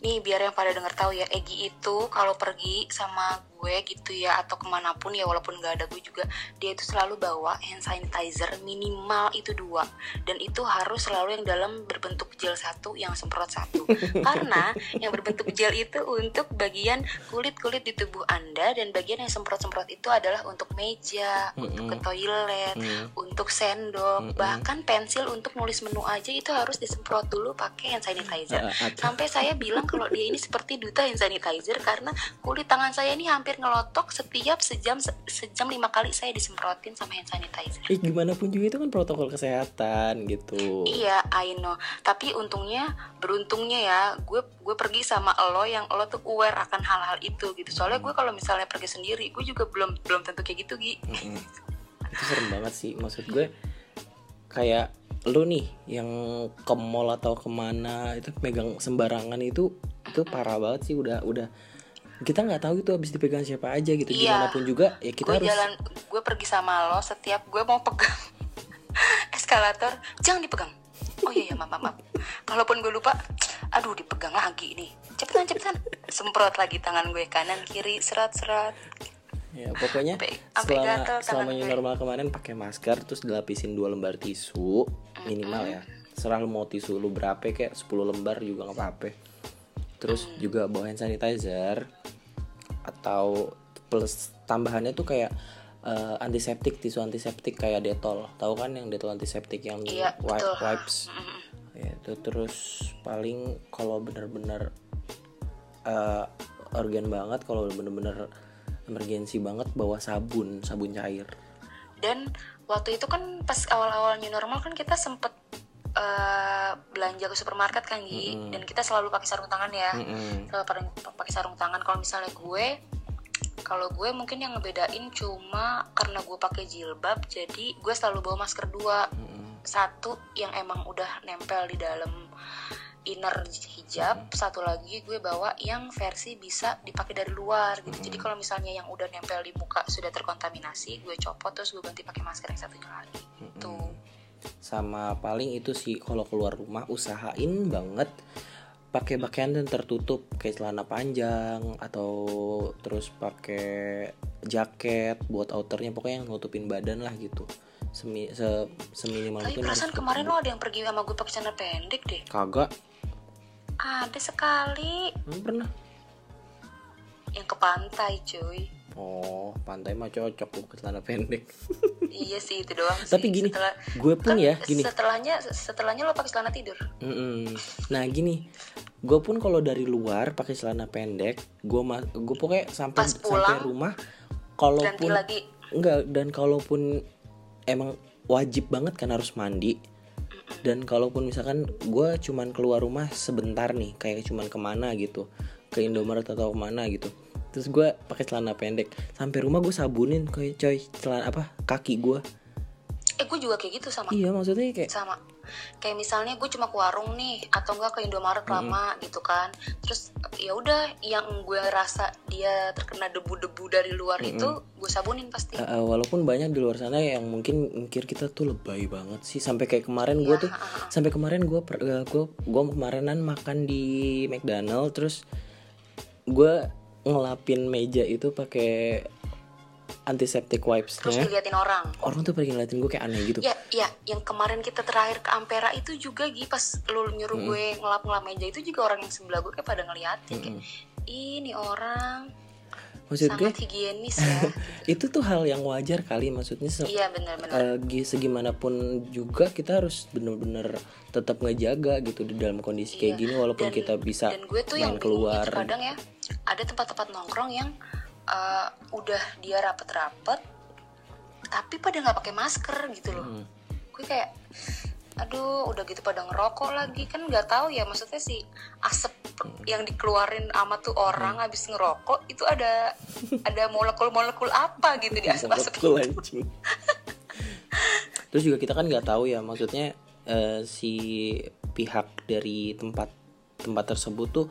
Speaker 2: nih biar yang pada denger tahu ya Egi itu kalau pergi sama gue gitu ya atau kemanapun ya walaupun nggak ada gue juga dia itu selalu bawa hand sanitizer minimal itu dua dan itu harus selalu yang dalam berbentuk gel satu yang semprot satu karena yang berbentuk gel itu untuk bagian kulit kulit di tubuh anda dan bagian yang semprot semprot itu adalah untuk meja untuk ke toilet untuk sendok bahkan pensil untuk nulis menu aja itu harus disemprot dulu pakai hand sanitizer
Speaker 1: Ah, ah, ah.
Speaker 2: sampai saya bilang kalau dia ini seperti duta hand sanitizer karena kulit tangan saya ini hampir ngelotok setiap sejam sejam lima kali saya disemprotin sama hand sanitizer
Speaker 1: eh gimana pun juga itu kan protokol kesehatan gitu
Speaker 2: iya I know tapi untungnya beruntungnya ya gue gue pergi sama lo yang lo tuh aware akan hal-hal itu gitu soalnya gue kalau misalnya pergi sendiri gue juga belum belum tentu kayak gitu Gi
Speaker 1: Mm-mm. itu serem banget sih maksud gue kayak lu nih yang ke mall atau kemana itu megang sembarangan itu itu parah banget sih udah udah kita nggak tahu itu habis dipegang siapa aja gitu
Speaker 2: Iya.
Speaker 1: gimana pun juga ya kita
Speaker 2: gue
Speaker 1: harus
Speaker 2: jalan gue pergi sama lo setiap gue mau pegang eskalator jangan dipegang oh iya iya maaf maaf, maaf kalaupun gue lupa aduh dipegang lagi nih cepetan cepetan semprot lagi tangan gue kanan kiri serat serat
Speaker 1: ya pokoknya
Speaker 2: Sampai- sampai
Speaker 1: selama
Speaker 2: gatel tangan
Speaker 1: selama new
Speaker 2: gue.
Speaker 1: normal kemarin pakai masker terus dilapisin dua lembar tisu minimal ya serah lu mau tisu lu berapa kayak 10 lembar juga nggak apa-apa
Speaker 2: Mm.
Speaker 1: terus juga bawa hand sanitizer atau plus tambahannya tuh kayak eh, antiseptik tisu antiseptik kayak detol tahu kan yang detol antiseptik yang
Speaker 2: Iya,
Speaker 1: wi-
Speaker 2: betul. mm,
Speaker 1: wipes ya itu terus paling kalau bener-bener eh, organ banget kalau bener-bener emergensi banget bawa sabun sabun cair
Speaker 2: dan waktu itu kan pas awal-awal new normal kan kita sempet eh, belanja ke supermarket kan Gi
Speaker 1: Mm-mm.
Speaker 2: dan kita selalu pakai sarung tangan ya
Speaker 1: Mm, Mm-mm.
Speaker 2: selalu pakai- pakai sarung tangan kalau misalnya gue kalau gue mungkin yang ngebedain cuma karena gue pakai jilbab jadi gue selalu bawa masker dua
Speaker 1: Mm-mm.
Speaker 2: satu yang emang udah nempel di dalam inner hijab satu lagi gue bawa yang versi bisa dipakai dari luar gitu jadi kalau misalnya yang udah nempel di muka sudah terkontaminasi gue copot terus gue ganti pakai masker yang satunya lagi tuh
Speaker 1: sama paling itu sih kalau keluar rumah usahain banget pakai pakaian yang tertutup kayak celana panjang atau terus pakai jaket buat outernya pokoknya yang nutupin badan lah gitu semi se, seminimal
Speaker 2: tapi
Speaker 1: mungkin harus
Speaker 2: perasaan kemarin
Speaker 1: tertutup.
Speaker 2: lo ada yang pergi sama gue pakai celana pendek deh
Speaker 1: kagak
Speaker 2: ada sekali
Speaker 1: Emang pernah
Speaker 2: yang ke pantai cuy
Speaker 1: oh pantai mah cocok tuh ke celana pendek
Speaker 2: iya sih itu doang sih.
Speaker 1: tapi gini
Speaker 2: Setelah-
Speaker 1: gue pun
Speaker 2: kan
Speaker 1: ya gini
Speaker 2: setelahnya setelahnya lo pakai celana tidur
Speaker 1: Mm-mm. Nah gini, gue pun kalau dari luar pakai celana pendek, gue ma- gue pokoknya sampai
Speaker 2: Pas
Speaker 1: sampai
Speaker 2: pulang,
Speaker 1: rumah,
Speaker 2: ganti
Speaker 1: kalaupun
Speaker 2: lagi
Speaker 1: enggak dan kalaupun emang wajib banget kan harus mandi. Dan kalaupun misalkan gue cuman keluar rumah sebentar nih, kayak cuman kemana gitu, ke Indomaret atau kemana gitu. Terus gue pakai celana pendek, sampai rumah gue sabunin kayak coy celana apa kaki gue.
Speaker 2: eh gue juga kayak gitu sama
Speaker 1: Iya maksudnya kayak
Speaker 2: sama kayak misalnya gue cuma ke warung nih atau enggak ke Indomaret lama gitu kan terus ya udah yang gue rasa dia terkena debu-debu dari luar itu gue sabunin pasti
Speaker 1: Uh, uh, walaupun banyak di luar sana yang mungkin mikir kita tuh lebay banget sih sampai kayak kemarin gue tuh sampai kemarin gue gue gue kemarinan makan di McDonald terus gue ngelapin meja itu pakai antiseptic
Speaker 2: terus
Speaker 1: wipesnya
Speaker 2: diliatin orang
Speaker 1: orang tuh pergi ngeliatin gue kayak aneh gitu
Speaker 2: ya ya yang kemarin kita terakhir ke Ampera itu juga Gi pas lu nyuruh gue ngelap-ngelap meja itu juga orang yang sebelah gue kayak pada ngeliatin kayak ini orang
Speaker 1: maksud gue
Speaker 2: sangat higienis ya
Speaker 1: itu tuh hal yang wajar kali maksudnya se-
Speaker 2: iya benar-benar
Speaker 1: eh, gi- segimanapun juga kita harus bener-bener tetap ngejaga gitu di dalam kondisi kayak
Speaker 2: Iya.
Speaker 1: gini walaupun
Speaker 2: Dan-
Speaker 1: kita bisa
Speaker 2: dan gue tuh yang
Speaker 1: main
Speaker 2: bingung
Speaker 1: keluar
Speaker 2: gitu kadang ya ada tempat-tempat nongkrong yang eh, udah dia rapet-rapet tapi pada nggak pakai masker gitu loh
Speaker 1: Hmm.
Speaker 2: gue kayak aduh udah gitu pada ngerokok lagi kan nggak tahu ya maksudnya si asap yang dikeluarin sama tuh orang
Speaker 1: Hmm.
Speaker 2: habis ngerokok itu ada ada molekul-molekul apa gitu di asap asap
Speaker 1: Molekul, anjing. Terus juga kita kan nggak tahu ya maksudnya eh, si pihak dari tempat tempat tersebut tuh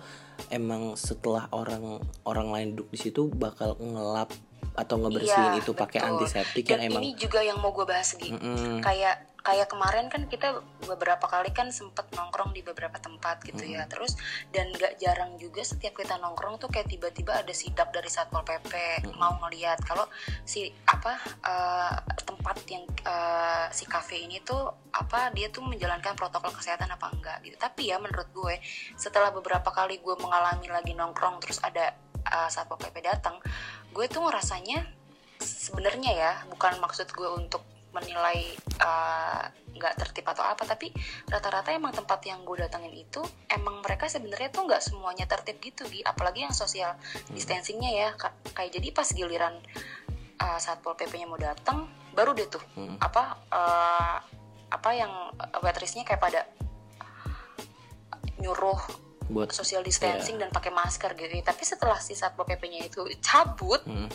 Speaker 1: emang setelah orang orang lain duduk di situ bakal ngelap atau ngebersihin
Speaker 2: Iya,
Speaker 1: itu pakai
Speaker 2: betul.
Speaker 1: antiseptik
Speaker 2: dan
Speaker 1: yang emang
Speaker 2: ini juga yang mau gue bahas gitu
Speaker 1: Mm-mm.
Speaker 2: kayak kayak kemarin kan kita beberapa kali kan sempet nongkrong di beberapa tempat gitu ya terus dan gak jarang juga setiap kita nongkrong tuh kayak tiba-tiba ada sidak dari satpol pp mau ngeliat kalau si apa eh, tempat yang eh, si kafe ini tuh apa dia tuh menjalankan protokol kesehatan apa enggak gitu tapi ya menurut gue setelah beberapa kali gue mengalami lagi nongkrong terus ada eh, satpol pp datang gue tuh ngerasanya sebenarnya ya bukan maksud gue untuk menilai uh, nggak tertib atau apa tapi rata-rata emang tempat yang gue datengin itu emang mereka sebenarnya tuh nggak semuanya tertib gitu Gi. apalagi yang sosial distancingnya ya Ka- kayak jadi pas giliran uh, satpol pp-nya mau datang baru deh tuh
Speaker 1: Mm.
Speaker 2: apa uh, apa yang uh, waitressnya kayak pada nyuruh
Speaker 1: buat
Speaker 2: social distancing dan pakai masker gitu. Tapi setelah si satpol pp-nya itu cabut,
Speaker 1: Mm.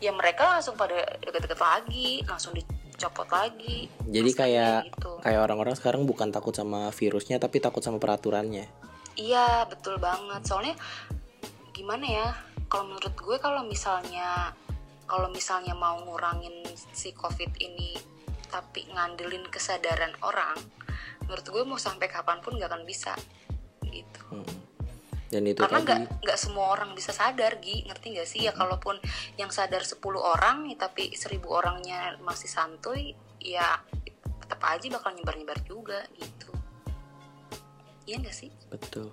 Speaker 2: ya mereka langsung pada deket-deket lagi, langsung dicopot lagi.
Speaker 1: jadi
Speaker 2: Maskernya
Speaker 1: kayak
Speaker 2: gitu.
Speaker 1: kayak orang-orang sekarang bukan takut sama virusnya tapi takut sama peraturannya.
Speaker 2: Iya betul banget. Soalnya gimana ya? Kalau menurut gue kalau misalnya kalau misalnya mau ngurangin si covid ini tapi ngandelin kesadaran orang, menurut gue mau sampai kapanpun nggak akan bisa gitu.
Speaker 1: Mm. Dan itu
Speaker 2: karena
Speaker 1: tadi
Speaker 2: nggak nggak semua orang bisa sadar Gi ngerti nggak sih ya kalaupun yang sadar 10 orang ya, tapi 1000 orangnya masih santuy ya tetap aja bakal nyebar-nyebar juga gitu iya nggak sih
Speaker 1: betul.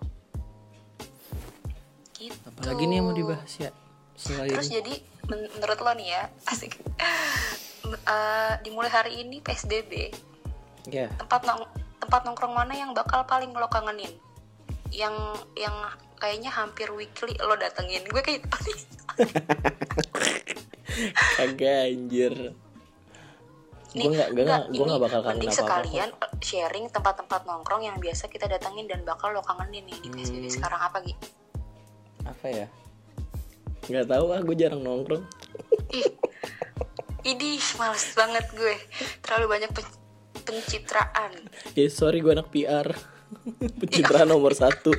Speaker 2: gitu
Speaker 1: Apalagi nih yang mau dibahas ya selain
Speaker 2: terus jadi men- menurut lo nih ya asik Men- eh, dimulai hari ini PSBB
Speaker 1: ya
Speaker 2: tempat nong tempat nongkrong mana yang bakal paling lo kangenin yang gitu yang kayaknya hampir weekly lo datengin gue kayak
Speaker 1: enggak anjir gue nggak gue nggak gue nggak bakal kangen
Speaker 2: mending ya.
Speaker 1: apa apa
Speaker 2: sekalian eh, sharing tempat-tempat nongkrong yang biasa kita datangin dan bakal lo kangenin nih di PSBB
Speaker 1: Hmm.
Speaker 2: sekarang apa Gi?
Speaker 1: apa ya nggak tahu ah gue jarang nongkrong
Speaker 2: Idih, males banget gue. Terlalu banyak pen- pencitraan.
Speaker 1: ya sorry gue anak PR pencitraan nomor satu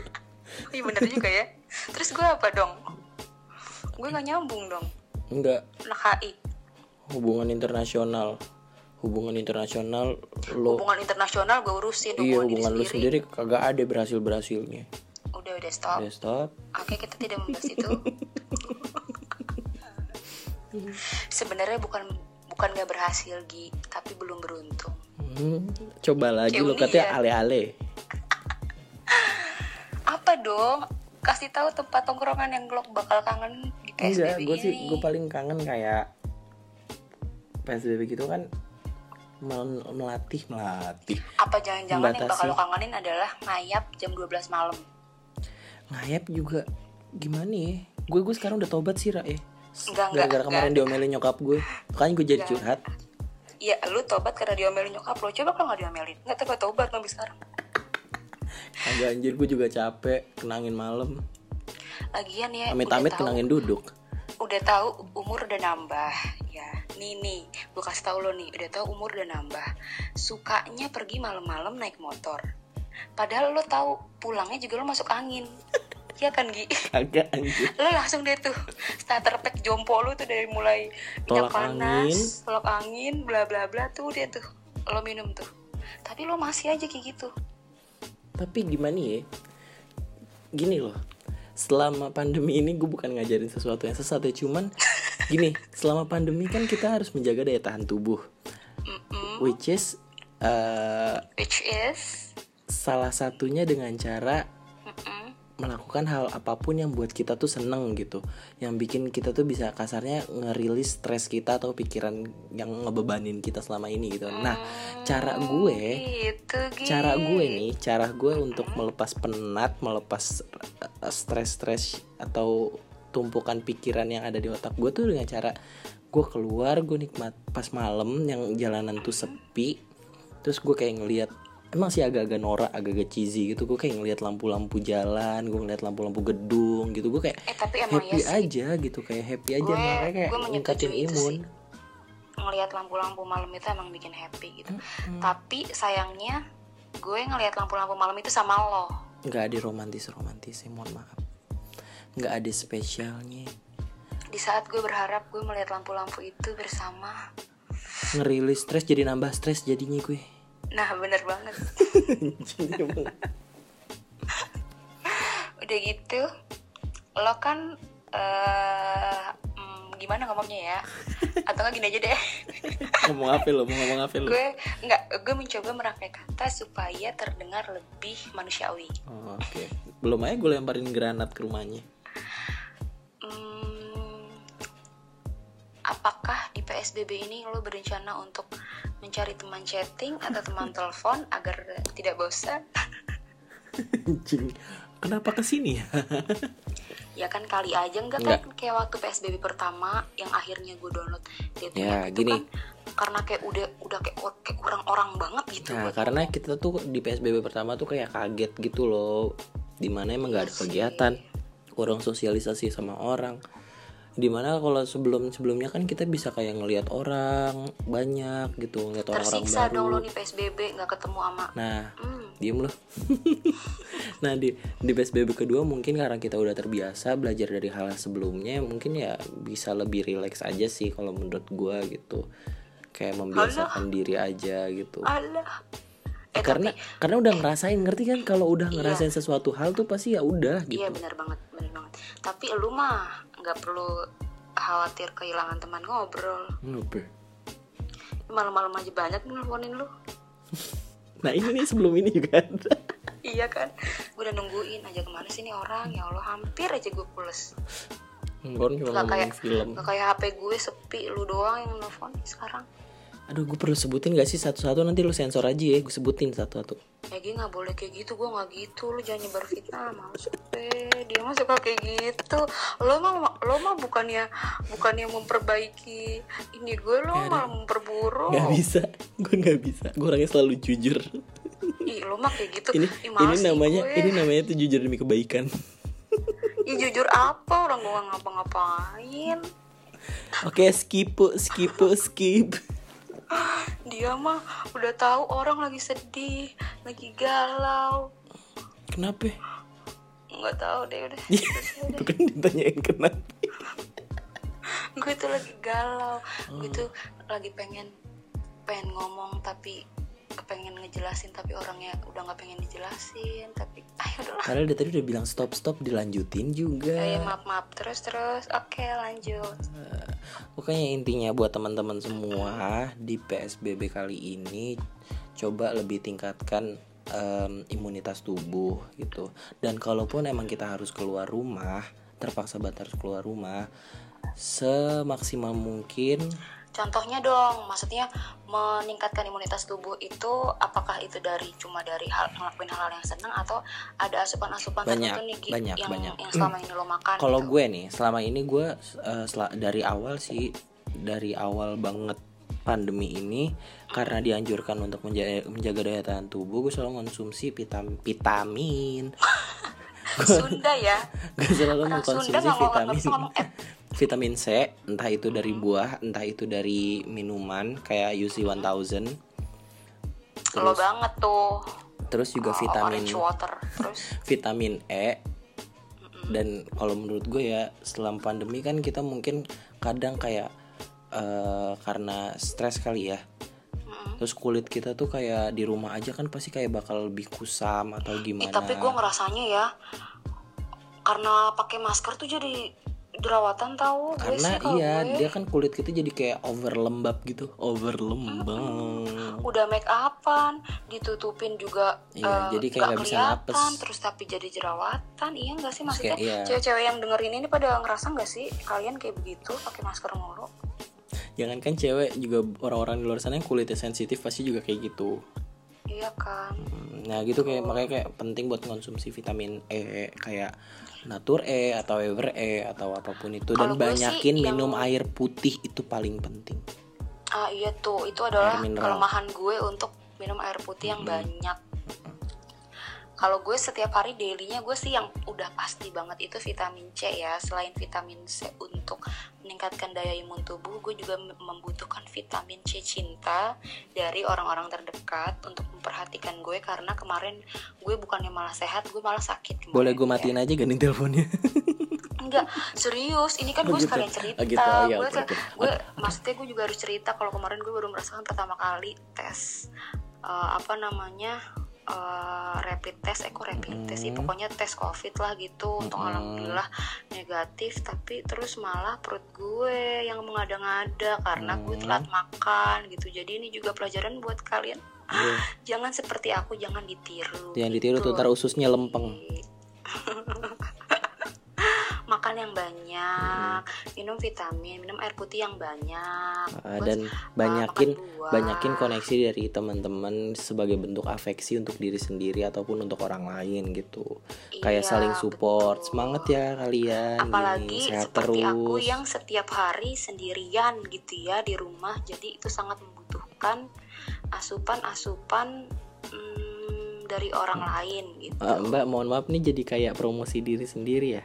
Speaker 2: Iya bener juga ya. Terus gue apa dong? Gue gak nyambung dong.
Speaker 1: enggak
Speaker 2: Anak HI.
Speaker 1: hubungan internasional hubungan internasional lo
Speaker 2: Hubungan internasional gue urusin.
Speaker 1: Oh. iya
Speaker 2: diri
Speaker 1: hubungan lo sendiri kagak ada berhasil berhasilnya
Speaker 2: Udah, udah stop.
Speaker 1: udah stop
Speaker 2: Oke, kita tidak membahas itu. Sebenarnya bukan bukan gak berhasil Gi, tapi belum beruntung.
Speaker 1: Hmm, coba lagi
Speaker 2: Kayak
Speaker 1: lo
Speaker 2: Uni
Speaker 1: katanya
Speaker 2: ya.
Speaker 1: ale-ale
Speaker 2: Apa dong? Kasih tahu tempat tongkrongan yang lo bakal kangen di
Speaker 1: enggak
Speaker 2: PSBB
Speaker 1: gue Iya, sih
Speaker 2: ini.
Speaker 1: gue paling kangen kayak psbb gitu kan mel- melatih melatih
Speaker 2: Apa jangan-jangan yang bakal
Speaker 1: Membatasi.
Speaker 2: lo kangenin adalah ngayap jam 12 malam.
Speaker 1: ngayap juga gimana ya gue gue sekarang udah tobat sih Ra ya
Speaker 2: Enggak, enggak,
Speaker 1: gara-gara kemarin
Speaker 2: enggak.
Speaker 1: diomelin nyokap gue makanya gue jadi
Speaker 2: Enggak.
Speaker 1: curhat
Speaker 2: Iya, lu tobat karena diomelin nyokap lo. Coba kalau nggak diomelin. Nggak tahu gua tobat sampai sekarang.
Speaker 1: agak anjir gue juga capek kenangin malam
Speaker 2: Lagian ya,
Speaker 1: amit-amit
Speaker 2: Eh, udah tahu,
Speaker 1: kenangin duduk
Speaker 2: udah tahu umur udah nambah. Ya, nih nih, gue kasih tahu lo nih, udah tahu umur udah nambah. Sukanya pergi malam-malam naik motor. Padahal lo tahu pulangnya juga lo masuk angin. Iya kan, Gi?
Speaker 1: agak anjir
Speaker 2: Lo langsung deh tuh starter pack jompo lo tuh dari mulai
Speaker 1: Tolak
Speaker 2: minyak panas,
Speaker 1: angin.
Speaker 2: tolak angin, bla bla bla tuh dia tuh. Lo minum tuh. Tapi lo masih aja kayak gitu.
Speaker 1: tapi gimana ya gini loh selama pandemi ini gue bukan ngajarin sesuatu yang sesat ya cuman gini selama pandemi kan kita harus menjaga daya tahan tubuh
Speaker 2: Mm-mm.
Speaker 1: which is eh,
Speaker 2: Which is
Speaker 1: salah satunya dengan cara
Speaker 2: Mm-mm.
Speaker 1: melakukan hal apapun yang buat kita tuh seneng gitu yang bikin kita tuh bisa kasarnya ngerilis stres kita atau pikiran yang ngebebanin kita selama ini gitu nah cara gue
Speaker 2: gitu, Gi.
Speaker 1: cara gue nih cara gue untuk melepas penat melepas eh, stres-stres atau tumpukan pikiran yang ada di otak gue tuh dengan cara gue keluar gue nikmat pas malam yang jalanan tuh sepi terus gue kayak ngelihat emang sih agak-agak norak agak-agak cheesy gitu gue kayak ngelihat lampu-lampu jalan gue ngeliat lampu-lampu gedung gitu gue kayak
Speaker 2: eh tapi emang
Speaker 1: happy
Speaker 2: ya sih
Speaker 1: aja gitu kayak happy aja
Speaker 2: Gue-
Speaker 1: makanya kayak
Speaker 2: gue menyetujui
Speaker 1: ningkatin
Speaker 2: itu
Speaker 1: imun
Speaker 2: sih. ngelihat lampu-lampu malam itu emang bikin happy gitu tapi sayangnya gue ngelihat lampu-lampu malam itu sama lo
Speaker 1: nggak ada romantis romantis mohon maaf nggak ada spesialnya
Speaker 2: di saat gue berharap gue melihat lampu-lampu itu bersama
Speaker 1: ngerilis stres jadi nambah stres jadinya gue
Speaker 2: nah bener banget udah gitu lo kan eh hmm, gimana ngomongnya ya atau nggak gini aja deh
Speaker 1: ngomong apa lo mau ngomong apa lo
Speaker 2: gue nggak gue mencoba merangkai kata supaya terdengar lebih manusiawi
Speaker 1: Oh, oke belum aja gue lemparin granat ke rumahnya
Speaker 2: Hmm, apakah di PSBB ini lo berencana untuk mencari teman chatting atau teman telepon agar tidak bosan?
Speaker 1: Anjing, kenapa kesini ya
Speaker 2: Ya kan kali aja enggak, kan kayak waktu PSBB pertama yang akhirnya gue download dating
Speaker 1: Ya,
Speaker 2: app
Speaker 1: gini.
Speaker 2: itu kan karena kayak udah udah kayak, or- kayak kurang orang banget gitu
Speaker 1: nah
Speaker 2: buat
Speaker 1: karena kita tuh di psbb pertama tuh kayak kaget gitu loh dimana emang nggak ada
Speaker 2: Bersih.
Speaker 1: kegiatan kurang sosialisasi sama orang dimana kalau sebelum sebelumnya kan kita bisa kayak ngelihat orang banyak gitu ngelihat orang-orang
Speaker 2: tersiksa
Speaker 1: baru
Speaker 2: dong lo nih PSBB nggak ketemu sama
Speaker 1: nah
Speaker 2: hmm,
Speaker 1: diem loh nah di di psbb kedua mungkin karena kita udah terbiasa belajar dari hal sebelumnya mungkin ya bisa lebih rileks aja sih kalau menurut gua gitu kayak membiasakan diri aja gitu
Speaker 2: alah eh,
Speaker 1: karena
Speaker 2: Ah, tapi-
Speaker 1: karena udah ngerasain ngerti kan kalau udah ngerasain sesuatu hal tuh pasti ya udah
Speaker 2: Iya
Speaker 1: gitu
Speaker 2: benar banget, benar banget. Tapi lu mah nggak perlu khawatir kehilangan teman ngobrol.
Speaker 1: Ngapa?
Speaker 2: Malam-malam aja banyak nelfonin lu.
Speaker 1: nah ini nih sebelum ini juga ada
Speaker 2: Iya kan? Gue udah nungguin aja kemana sih nih orang. Ya Allah hampir aja gue pules.
Speaker 1: Gua kan cuma
Speaker 2: Gak
Speaker 1: ngomongin
Speaker 2: kayak
Speaker 1: film
Speaker 2: nggak kayak HP gue sepi, lu doang yang nelfon sekarang.
Speaker 1: Aduh, gue perlu sebutin gak sih satu-satu nanti lu sensor aja ya, gue sebutin satu-satu.
Speaker 2: Egy Ya, nggak boleh kayak gitu, gue nggak gitu. Lu jangan nyebar fitnah, mampus gue. Dia mah suka kayak gitu. Lo mah lo mah bukannya bukannya memperbaiki ini gue lo malah memperburuk.
Speaker 1: Gak bisa, gue gak bisa. Gue orangnya selalu jujur.
Speaker 2: Ih, lo mah kayak gitu.
Speaker 1: Ini ini
Speaker 2: Ih, males nih
Speaker 1: namanya
Speaker 2: gue.
Speaker 1: ini namanya tuh jujur demi kebaikan.
Speaker 2: Ih, jujur apa orang gue nggak ngapa-ngapain.
Speaker 1: Oke, skip, Bu, skip, Bu, skip.
Speaker 2: Dia mah udah tahu orang lagi sedih, lagi galau.
Speaker 1: Kenapa?
Speaker 2: Nggak tahu deh udah.
Speaker 1: Itu kan ditanyain kenapa.
Speaker 2: gue tuh lagi galau gue
Speaker 1: Hmm.
Speaker 2: tuh lagi pengen pengen ngomong tapi kepengen ngejelasin tapi orangnya udah nggak pengen dijelasin tapi ayo udahlah
Speaker 1: Padahal dia tadi udah bilang stop stop dilanjutin juga.
Speaker 2: Eh, maaf maaf terus terus oke lanjut
Speaker 1: Pokoknya intinya buat teman-teman semua di PSBB kali ini coba lebih tingkatkan em, imunitas tubuh gitu. Dan kalaupun emang kita harus keluar rumah, terpaksa banget harus keluar rumah semaksimal mungkin
Speaker 2: contohnya dong maksudnya meningkatkan imunitas tubuh itu apakah itu dari cuma dari hal ngelakuin hal-hal yang seneng atau ada asupan-asupan
Speaker 1: Banyak,
Speaker 2: tertentu nih Gi,
Speaker 1: banyak,
Speaker 2: yang
Speaker 1: banyak.
Speaker 2: yang selama ini lo makan
Speaker 1: Kalau
Speaker 2: gitu?
Speaker 1: gue nih, selama ini gue eh, sela- dari awal sih, dari awal banget pandemi ini, karena dianjurkan untuk menjaga, menjaga daya tahan tubuh, gue selalu konsumsi vitam- vitamin.
Speaker 2: Sunda ya
Speaker 1: Gue selalu
Speaker 2: Orang Sunda
Speaker 1: mengkonsumsi
Speaker 2: nggak ngomong- Hmm. nggak
Speaker 1: vitamin
Speaker 2: bisa ngomong eh.
Speaker 1: vitamin C, entah itu dari buah, entah itu dari minuman kayak UC 1000.
Speaker 2: lo
Speaker 1: Terus,
Speaker 2: banget tuh
Speaker 1: terus juga
Speaker 2: Oh,
Speaker 1: vitamin
Speaker 2: orange water terus
Speaker 1: vitamin E dan kalau menurut gue ya selama pandemi kan kita mungkin kadang kayak eh, karena stres kali ya
Speaker 2: Mm-mm.
Speaker 1: terus kulit kita tuh kayak di rumah aja kan pasti kayak bakal lebih kusam atau
Speaker 2: Ih,
Speaker 1: gimana
Speaker 2: tapi gue ngerasanya ya karena pakai masker tuh jadi jerawatan tahu gue
Speaker 1: karena
Speaker 2: sih kalau
Speaker 1: iya
Speaker 2: gue.
Speaker 1: dia kan kulit kita jadi kayak over lembab gitu over lembab
Speaker 2: udah make upan ditutupin juga
Speaker 1: Iya,
Speaker 2: eh,
Speaker 1: jadi kayak
Speaker 2: nggak
Speaker 1: nggak bisa
Speaker 2: kelihatan,
Speaker 1: napes.
Speaker 2: terus tapi jadi jerawatan iya nggak sih
Speaker 1: Terus
Speaker 2: maksudnya
Speaker 1: kayak, iya.
Speaker 2: cewek-cewek yang dengerin ini pada ngerasa nggak sih kalian kayak begitu pakai masker mulu
Speaker 1: jangan kan cewek juga orang-orang di luar sana yang kulitnya sensitif pasti juga kayak gitu
Speaker 2: iya kan
Speaker 1: Hmm, Nah gitu kayak makanya kayak penting buat konsumsi vitamin E kayak Natur E atau Ever E atau apapun itu dan
Speaker 2: Kalau gue sih
Speaker 1: banyakin
Speaker 2: yang-
Speaker 1: minum air putih itu paling penting.
Speaker 2: ah iya tuh itu adalah
Speaker 1: Air mineral. Hmm.
Speaker 2: kelemahan gue untuk minum air putih yang banyak kalau gue setiap hari dailynya gue sih yang udah pasti banget itu vitamin C ya selain vitamin C untuk meningkatkan daya imun tubuh gue juga mem- membutuhkan vitamin C cinta dari orang-orang terdekat untuk memperhatikan gue karena kemarin gue bukannya malah sehat gue malah sakit kemarin,
Speaker 1: Boleh gue
Speaker 2: ya.
Speaker 1: matiin aja gini teleponnya.
Speaker 2: Enggak, serius. Ini kan
Speaker 1: Oh,
Speaker 2: gue
Speaker 1: gitu.
Speaker 2: sekalian cerita.
Speaker 1: Oh, gitu. Oh, iya,
Speaker 2: gue,
Speaker 1: oke, oke.
Speaker 2: gue maksudnya gue juga harus cerita kalau kemarin gue baru merasakan pertama kali tes eh, apa namanya? eh, rapid test, eh kok rapid test sih?
Speaker 1: Mm.
Speaker 2: Pokoknya tes covid lah gitu. Untuk
Speaker 1: Mm-mm.
Speaker 2: alhamdulillah negatif, tapi terus malah perut gue yang mengada-ngada karena gue
Speaker 1: Mm.
Speaker 2: telat makan gitu. Jadi ini juga pelajaran buat kalian.
Speaker 1: Iya.
Speaker 2: Jangan seperti aku, jangan ditiru. gitu.
Speaker 1: Jangan ditiru tuh ntar ususnya lempeng.
Speaker 2: makan yang banyak, minum vitamin, minum air putih yang banyak,
Speaker 1: Ah,
Speaker 2: terus,
Speaker 1: dan
Speaker 2: ah,
Speaker 1: banyakin
Speaker 2: makan buah.
Speaker 1: banyakin koneksi dari teman-teman sebagai bentuk afeksi untuk diri sendiri ataupun untuk orang lain gitu. Kayak
Speaker 2: Iya,
Speaker 1: saling support.
Speaker 2: betul.
Speaker 1: Semangat ya kalian. gini,
Speaker 2: Apalagi
Speaker 1: sehat
Speaker 2: seperti
Speaker 1: terus.
Speaker 2: aku yang setiap hari sendirian gitu ya di rumah, jadi itu sangat membutuhkan asupan-asupan mm, dari orang lain gitu.
Speaker 1: Ah, Mbak, mohon maaf nih jadi kayak promosi diri sendiri ya.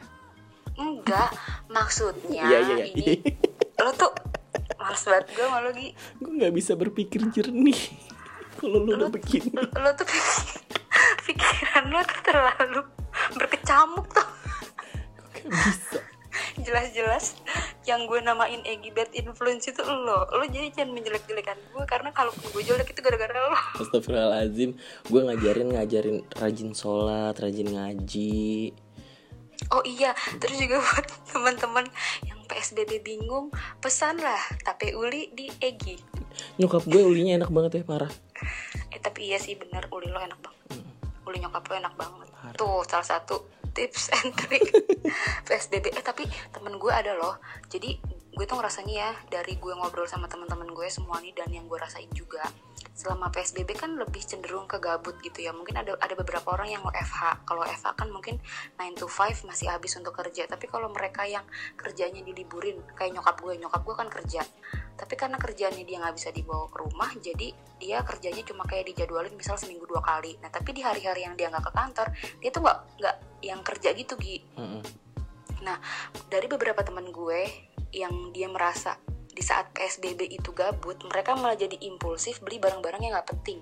Speaker 2: Enggak, maksudnya
Speaker 1: Iya, iya, iya.
Speaker 2: ini lo tuh males banget gue malu Gi.
Speaker 1: gue nggak bisa berpikir jernih kalau lu udah begini
Speaker 2: Lo- lo tuh pik- pikiran lo tuh terlalu berkecamuk tuh
Speaker 1: Gak bisa
Speaker 2: jelas-jelas yang gue namain Egy bad influence itu lo lo jadi jangan menjelek-jelekan gue karena kalau gue jelek itu gara-gara lo
Speaker 1: Astagfirullahaladzim Gue ngajarin ngajarin rajin sholat Rajin ngaji
Speaker 2: oh iya terus juga buat teman-teman yang PSBB bingung pesanlah tape uli di Egy
Speaker 1: Nyokap gue ulinya enak banget ya parah
Speaker 2: eh tapi iya sih bener uli lo enak banget uli nyokap lo enak banget
Speaker 1: Parah.
Speaker 2: tuh salah satu tips and trick PSBB eh tapi temen gue ada loh jadi gue tuh ngerasanya ya dari gue ngobrol sama teman-teman gue semua nih dan yang gue rasain juga selama psbb kan lebih cenderung ke gabut gitu ya mungkin ada ada beberapa orang yang FH kalau FH kan mungkin 9 to 5 masih habis untuk kerja tapi kalau mereka yang kerjanya diliburin kayak nyokap gue nyokap gue kan kerja tapi karena kerjaannya dia nggak bisa dibawa ke rumah jadi dia kerjanya cuma kayak dijadwalin misal seminggu dua kali nah tapi di hari-hari yang dia nggak ke kantor dia tuh nggak nggak yang kerja gitu Gi
Speaker 1: Mm-mm.
Speaker 2: Nah, dari beberapa teman gue yang dia merasa di saat PSBB itu gabut, mereka malah jadi impulsif beli barang-barang yang nggak penting.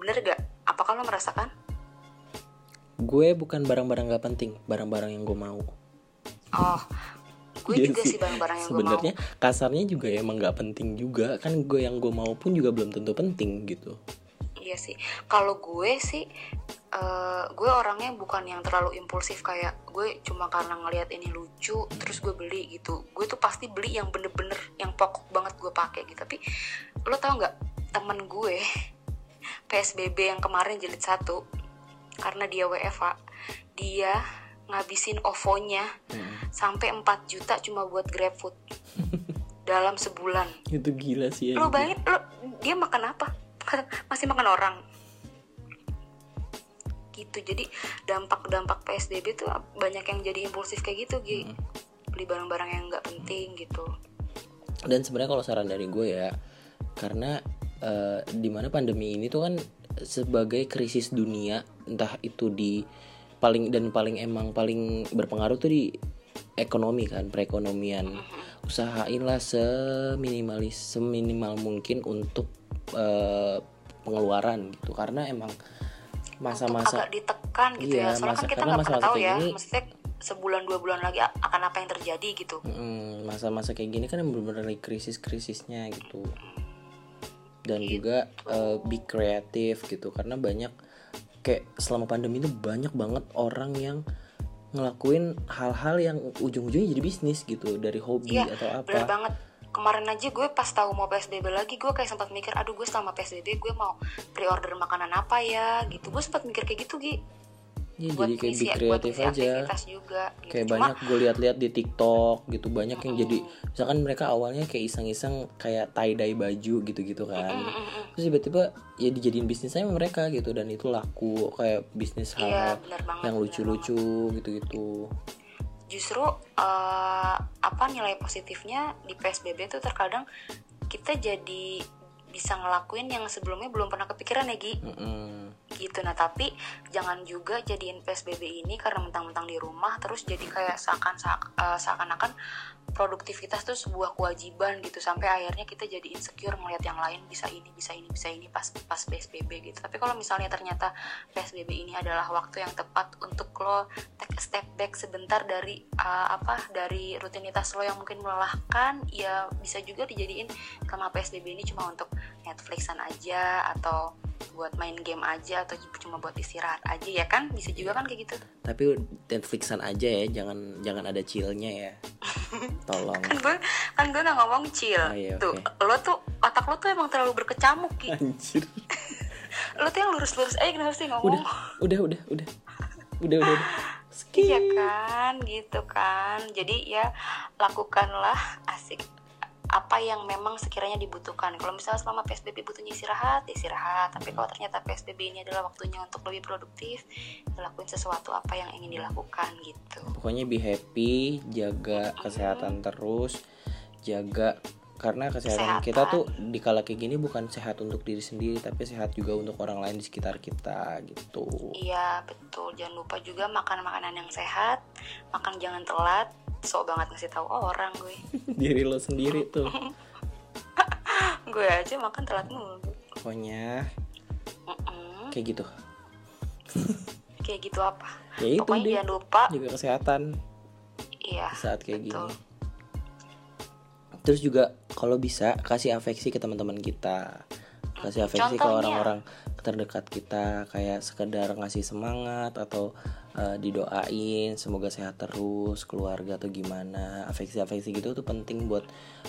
Speaker 2: Bener gak? Apakah lo merasakan?
Speaker 1: Gue bukan barang-barang gak penting, barang-barang yang gue mau.
Speaker 2: Oh, gue
Speaker 1: Iya
Speaker 2: juga
Speaker 1: sih.
Speaker 2: sih barang-barang yang gue mau.
Speaker 1: Sebenarnya kasarnya juga emang gak penting juga, kan gue yang gue mau pun juga belum tentu penting gitu.
Speaker 2: Iya sih. Kalau gue sih, eh, gue orangnya bukan yang terlalu impulsif kayak gue cuma karena ngelihat ini lucu, terus gue beli gitu. Gue tuh pasti beli yang bener-bener, yang pokok banget gue pakai gitu. Tapi lo tau nggak temen gue PSBB yang kemarin jilid satu karena dia WFA, dia ngabisin OVO-nya sampai 4 juta cuma buat GrabFood dalam sebulan.
Speaker 1: Itu gila sih. anjing.
Speaker 2: Lo bayangin, lo dia makan apa? Masih makan orang. Gitu. Jadi dampak-dampak PSBB tuh banyak yang jadi impulsif kayak gitu, Gi.
Speaker 1: Hmm.
Speaker 2: Beli barang-barang yang nggak penting gitu.
Speaker 1: dan sebenarnya kalau saran dari gue ya karena eh, di dimana pandemi ini tuh kan sebagai krisis dunia entah itu di paling dan paling emang paling berpengaruh tuh di ekonomi kan perekonomian usahainlah seminimalis seminimal mungkin untuk eh, pengeluaran gitu karena emang
Speaker 2: Untuk
Speaker 1: masa-masa
Speaker 2: agak ditekan gitu
Speaker 1: Iya,
Speaker 2: ya. Soalnya
Speaker 1: masa-
Speaker 2: kan kita
Speaker 1: karena
Speaker 2: nggak pernah
Speaker 1: masa-masa
Speaker 2: tahu
Speaker 1: kayak
Speaker 2: ya.
Speaker 1: gini-
Speaker 2: Maksudnya sebulan dua bulan lagi a- akan apa yang terjadi gitu.
Speaker 1: Mm, masa-masa kayak gini kan emang bener-bener lagi krisis-krisisnya gitu dan
Speaker 2: Iya.
Speaker 1: juga eh, be kreatif gitu karena banyak kayak selama pandemi itu banyak banget orang yang ngelakuin hal-hal yang ujung-ujungnya jadi bisnis gitu dari hobi
Speaker 2: Iya,
Speaker 1: atau apa
Speaker 2: Bener banget. Kemarin aja gue pas tahu mau PSBB lagi, gue kayak sempat mikir, aduh gue selama PSBB gue mau pre-order makanan apa ya gitu. Gue sempat mikir kayak gitu, Gi.
Speaker 1: Iya,
Speaker 2: buat
Speaker 1: jadi kayak be
Speaker 2: ngisi- buat
Speaker 1: kreatif
Speaker 2: ngisi
Speaker 1: aja
Speaker 2: aktivitas juga gitu.
Speaker 1: kayak
Speaker 2: Cuma,
Speaker 1: banyak gue lihat-lihat di TikTok gitu banyak yang jadi misalkan mereka awalnya kayak iseng-iseng kayak tie dye baju gitu-gitu kan
Speaker 2: mm, mm, mm.
Speaker 1: terus tiba-tiba ya dijadiin bisnisnya sama mereka gitu dan itu laku kayak bisnis
Speaker 2: iya
Speaker 1: hal yang
Speaker 2: benar banget bener banget.
Speaker 1: lucu-lucu gitu-gitu
Speaker 2: justru eh, apa nilai positifnya di psbb tuh terkadang kita jadi bisa ngelakuin yang sebelumnya belum pernah kepikiran ya Gi
Speaker 1: Mm-mm.
Speaker 2: gitu nah tapi jangan juga jadiin psbb ini karena mentang-mentang di rumah terus jadi kayak seakan seak- eh, seakan-akan produktivitas tuh sebuah kewajiban gitu sampai akhirnya kita jadi insecure melihat yang lain bisa ini bisa ini bisa ini pas pas psbb gitu tapi kalau misalnya ternyata psbb ini adalah waktu yang tepat untuk lo take a step back sebentar dari eh, apa dari rutinitas lo yang mungkin melelahkan ya bisa juga dijadiin karena psbb ini cuma untuk Netflixan aja atau buat main game aja atau cuma buat istirahat aja ya kan bisa juga kan kayak gitu
Speaker 1: tapi Netflixan aja ya jangan jangan ada chillnya ya tolong
Speaker 2: kan gue kan gue nggak ngomong chill
Speaker 1: Oh, iya,
Speaker 2: tuh lo tuh otak lo tuh emang terlalu berkecamuk Ki.
Speaker 1: anjir
Speaker 2: gitu. lo tuh yang lurus-lurus aja kenapa sih ngomong
Speaker 1: udah udah udah udah udah udah, udah. Skip.
Speaker 2: iya kan gitu kan jadi ya lakukanlah asik apa yang memang sekiranya dibutuhkan kalau misalnya selama psbb butuhnya istirahat ya istirahat tapi kalau ternyata psbb ini adalah waktunya untuk lebih produktif ya lakuin sesuatu apa yang ingin dilakukan gitu
Speaker 1: pokoknya be happy jaga kesehatan terus jaga karena kesehatan,
Speaker 2: Kesehatan.
Speaker 1: kita tuh di kala kayak gini bukan sehat untuk diri sendiri tapi sehat juga untuk orang lain di sekitar kita gitu
Speaker 2: Iya betul jangan lupa juga makan makanan yang sehat makan jangan telat sok banget ngasih tahu orang gue
Speaker 1: diri lo sendiri tuh
Speaker 2: gue aja makan telat mulu
Speaker 1: pokoknya
Speaker 2: Mm-mm.
Speaker 1: kayak gitu
Speaker 2: kayak gitu apa
Speaker 1: ya itu
Speaker 2: pokoknya
Speaker 1: deh
Speaker 2: jangan lupa
Speaker 1: jaga kesehatan
Speaker 2: iya
Speaker 1: di saat kayak
Speaker 2: betul.
Speaker 1: gini terus juga kalau bisa kasih afeksi ke teman-teman kita kasih afeksi ke
Speaker 2: Contohnya?
Speaker 1: orang-orang terdekat kita kayak sekedar ngasih semangat atau eh, didoain semoga sehat terus keluarga atau gimana afeksi afeksi gitu tuh penting buat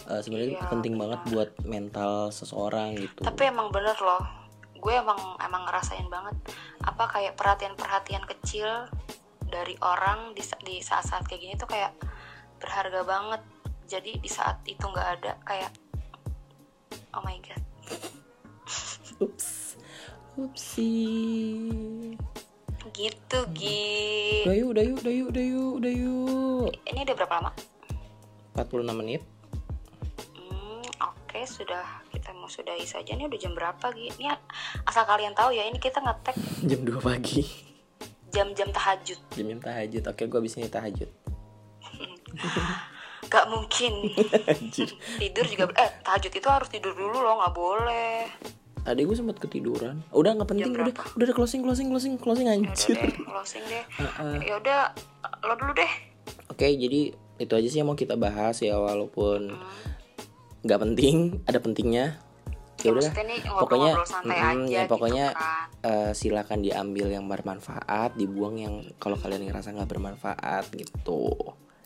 Speaker 1: eh, sebenarnya
Speaker 2: Iya,
Speaker 1: penting banget
Speaker 2: benar.
Speaker 1: buat mental seseorang gitu
Speaker 2: tapi emang bener loh gue emang emang ngerasain banget apa kayak perhatian-perhatian kecil dari orang di, sa- di saat-saat kayak gini tuh kayak berharga banget jadi di saat itu nggak ada kayak oh my god
Speaker 1: Ups. Upsi.
Speaker 2: gitu Gi
Speaker 1: Udah yuk, udah yuk, udah yuk, udah yuk, udah yuk.
Speaker 2: ini udah berapa lama
Speaker 1: 46 menit.
Speaker 2: Hmm, Oke, sudah kita mau sudahi saja nih udah jam berapa Gi? Ini asal kalian tahu ya ini kita ngetek
Speaker 1: Jam 2 pagi.
Speaker 2: jam-jam tahajud.
Speaker 1: Jam jam tahajud. Oke, gue abis ini tahajud.
Speaker 2: Gak mungkin.
Speaker 1: Anjir.
Speaker 2: tidur juga eh tahajud itu harus tidur dulu loh, nggak boleh.
Speaker 1: Tadi gue sempat ketiduran. Udah nggak penting,
Speaker 2: Jam
Speaker 1: udah udah ada closing closing closing closing
Speaker 2: Ya Iya, udah
Speaker 1: anjir.
Speaker 2: deh, closing deh.
Speaker 1: Heeh.
Speaker 2: Ya udah lo dulu deh.
Speaker 1: Oke, jadi itu aja sih yang mau kita bahas ya walaupun nggak penting, ada pentingnya. Ya udah.
Speaker 2: maksudnya nih
Speaker 1: pokoknya,
Speaker 2: ngobrol-ngobrol santai
Speaker 1: mm,
Speaker 2: aja
Speaker 1: ya pokoknya-
Speaker 2: gitu kan.
Speaker 1: Eh, silakan diambil yang bermanfaat, dibuang yang kalau kalian ngerasa nggak bermanfaat gitu.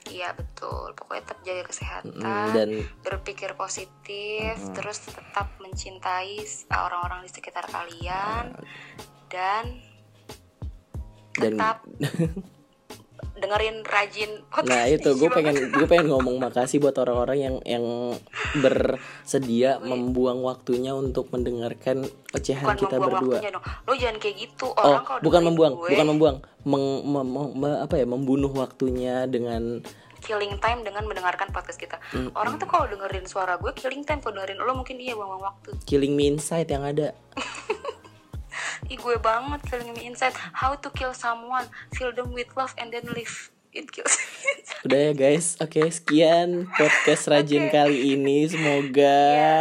Speaker 2: Iya betul. Pokoknya tetap jaga kesehatan.
Speaker 1: Mm, dan
Speaker 2: berpikir positif,
Speaker 1: Hmm.
Speaker 2: terus tetap mencintai s- orang-orang di sekitar kalian
Speaker 1: Nah,
Speaker 2: dan
Speaker 1: dan
Speaker 2: tetap dengerin rajin
Speaker 1: nah
Speaker 2: podcast
Speaker 1: itu gue
Speaker 2: Ishi
Speaker 1: pengen
Speaker 2: banget.
Speaker 1: gue pengen ngomong makasih buat orang-orang yang yang bersedia membuang waktunya untuk mendengarkan
Speaker 2: Oh, iya. bukan
Speaker 1: ocehan kita
Speaker 2: membuang
Speaker 1: berdua.
Speaker 2: waktunya dong. Lo jangan kayak gitu.
Speaker 1: Oh,
Speaker 2: Orang kalau
Speaker 1: bukan
Speaker 2: dengerin
Speaker 1: membuang,
Speaker 2: gue,
Speaker 1: bukan membuang, Meng- mem- mem- me- apa ya, membunuh waktunya dengan
Speaker 2: killing time dengan mendengarkan podcast kita.
Speaker 1: Mm,
Speaker 2: Orang tuh kalau dengerin suara gue killing time, kalau dengerin lo mungkin iya buang-buang waktu.
Speaker 1: killing me inside yang ada.
Speaker 2: Ih gue banget killing me inside. How to kill someone, fill them with love and then leave. It kills.
Speaker 1: Udah ya guys, oke sekian podcast rajin
Speaker 2: Oke.
Speaker 1: kali ini. Semoga
Speaker 2: Ya.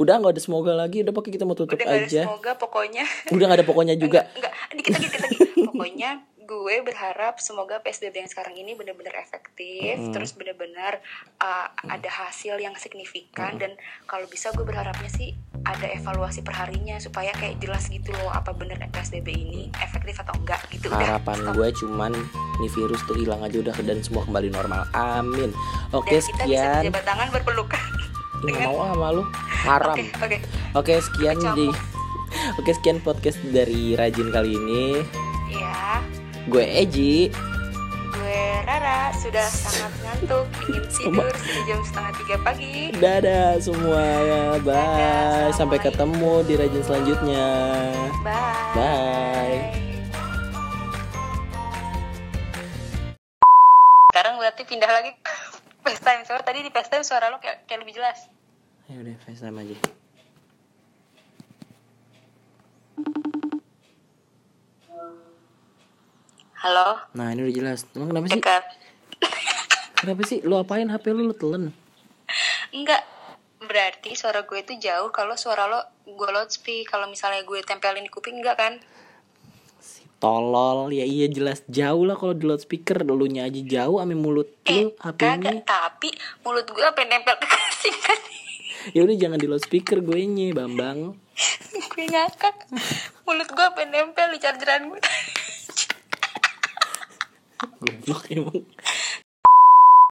Speaker 1: udah nggak ada semoga lagi, udah pakai kita mau tutup
Speaker 2: Udah gak ada
Speaker 1: aja.
Speaker 2: semoga pokoknya.
Speaker 1: Udah nggak ada pokoknya juga.
Speaker 2: Enggak, dikit lagi, dikit lagi. Pokoknya gue berharap semoga PSBB yang sekarang ini benar-benar efektif, terus benar-benar uh, ada hasil yang signifikan dan kalau bisa gue berharapnya sih ada evaluasi perharinya supaya kayak jelas gitu loh apa bener PSBB ini efektif atau enggak gitu udah.
Speaker 1: Harapan gue cuman nih virus tuh hilang aja udah dan semua kembali normal. Amin.
Speaker 2: Dan
Speaker 1: Oke
Speaker 2: kita bisa
Speaker 1: sekian.
Speaker 2: berjabat tangan berpelukan.
Speaker 1: Ih, nggak mau ah sama lu. Haram.
Speaker 2: Oke, oke.
Speaker 1: Oke sekian
Speaker 2: Kecampur.
Speaker 1: di. Oke sekian podcast dari rajin kali ini.
Speaker 2: Iya,
Speaker 1: Gue Eji.
Speaker 2: gue Rara sudah sangat ngantuk, ingin tidur sudah jam setengah tiga pagi.
Speaker 1: Dadah semua. ya. Bye.
Speaker 2: Dadah,
Speaker 1: Sampai
Speaker 2: Assalamualaikum.
Speaker 1: ketemu di rajin selanjutnya.
Speaker 2: Bye.
Speaker 1: Bye.
Speaker 2: Sekarang berarti pindah lagi ke FaceTime. Soalnya tadi di FaceTime suara lo kayak, kayak lebih jelas.
Speaker 1: Ya udah FaceTime aja.
Speaker 2: Halo,
Speaker 1: Nah, ini udah jelas. Emang kenapa sih?
Speaker 2: dekat.
Speaker 1: Kenapa sih lu apain HP lu lu telen?
Speaker 2: Enggak, berarti suara gue itu jauh kalau suara lo gue loudspeak. Kalau misalnya gue tempelin di kuping enggak kan?
Speaker 1: Si tolol. Ya iya jelas jauh lah kalau di loudspeaker lu nya aja jauh ame mulut
Speaker 2: Eh,
Speaker 1: lu HP nya.
Speaker 2: Kagak, tapi mulut gue apa yang nempel ke kasing kan?
Speaker 1: Ya udah jangan di loudspeaker gue nye, Bambang.
Speaker 2: gue ngakak. Mulut gue apa yang nempel di chargeran gue?
Speaker 1: Goblok emang.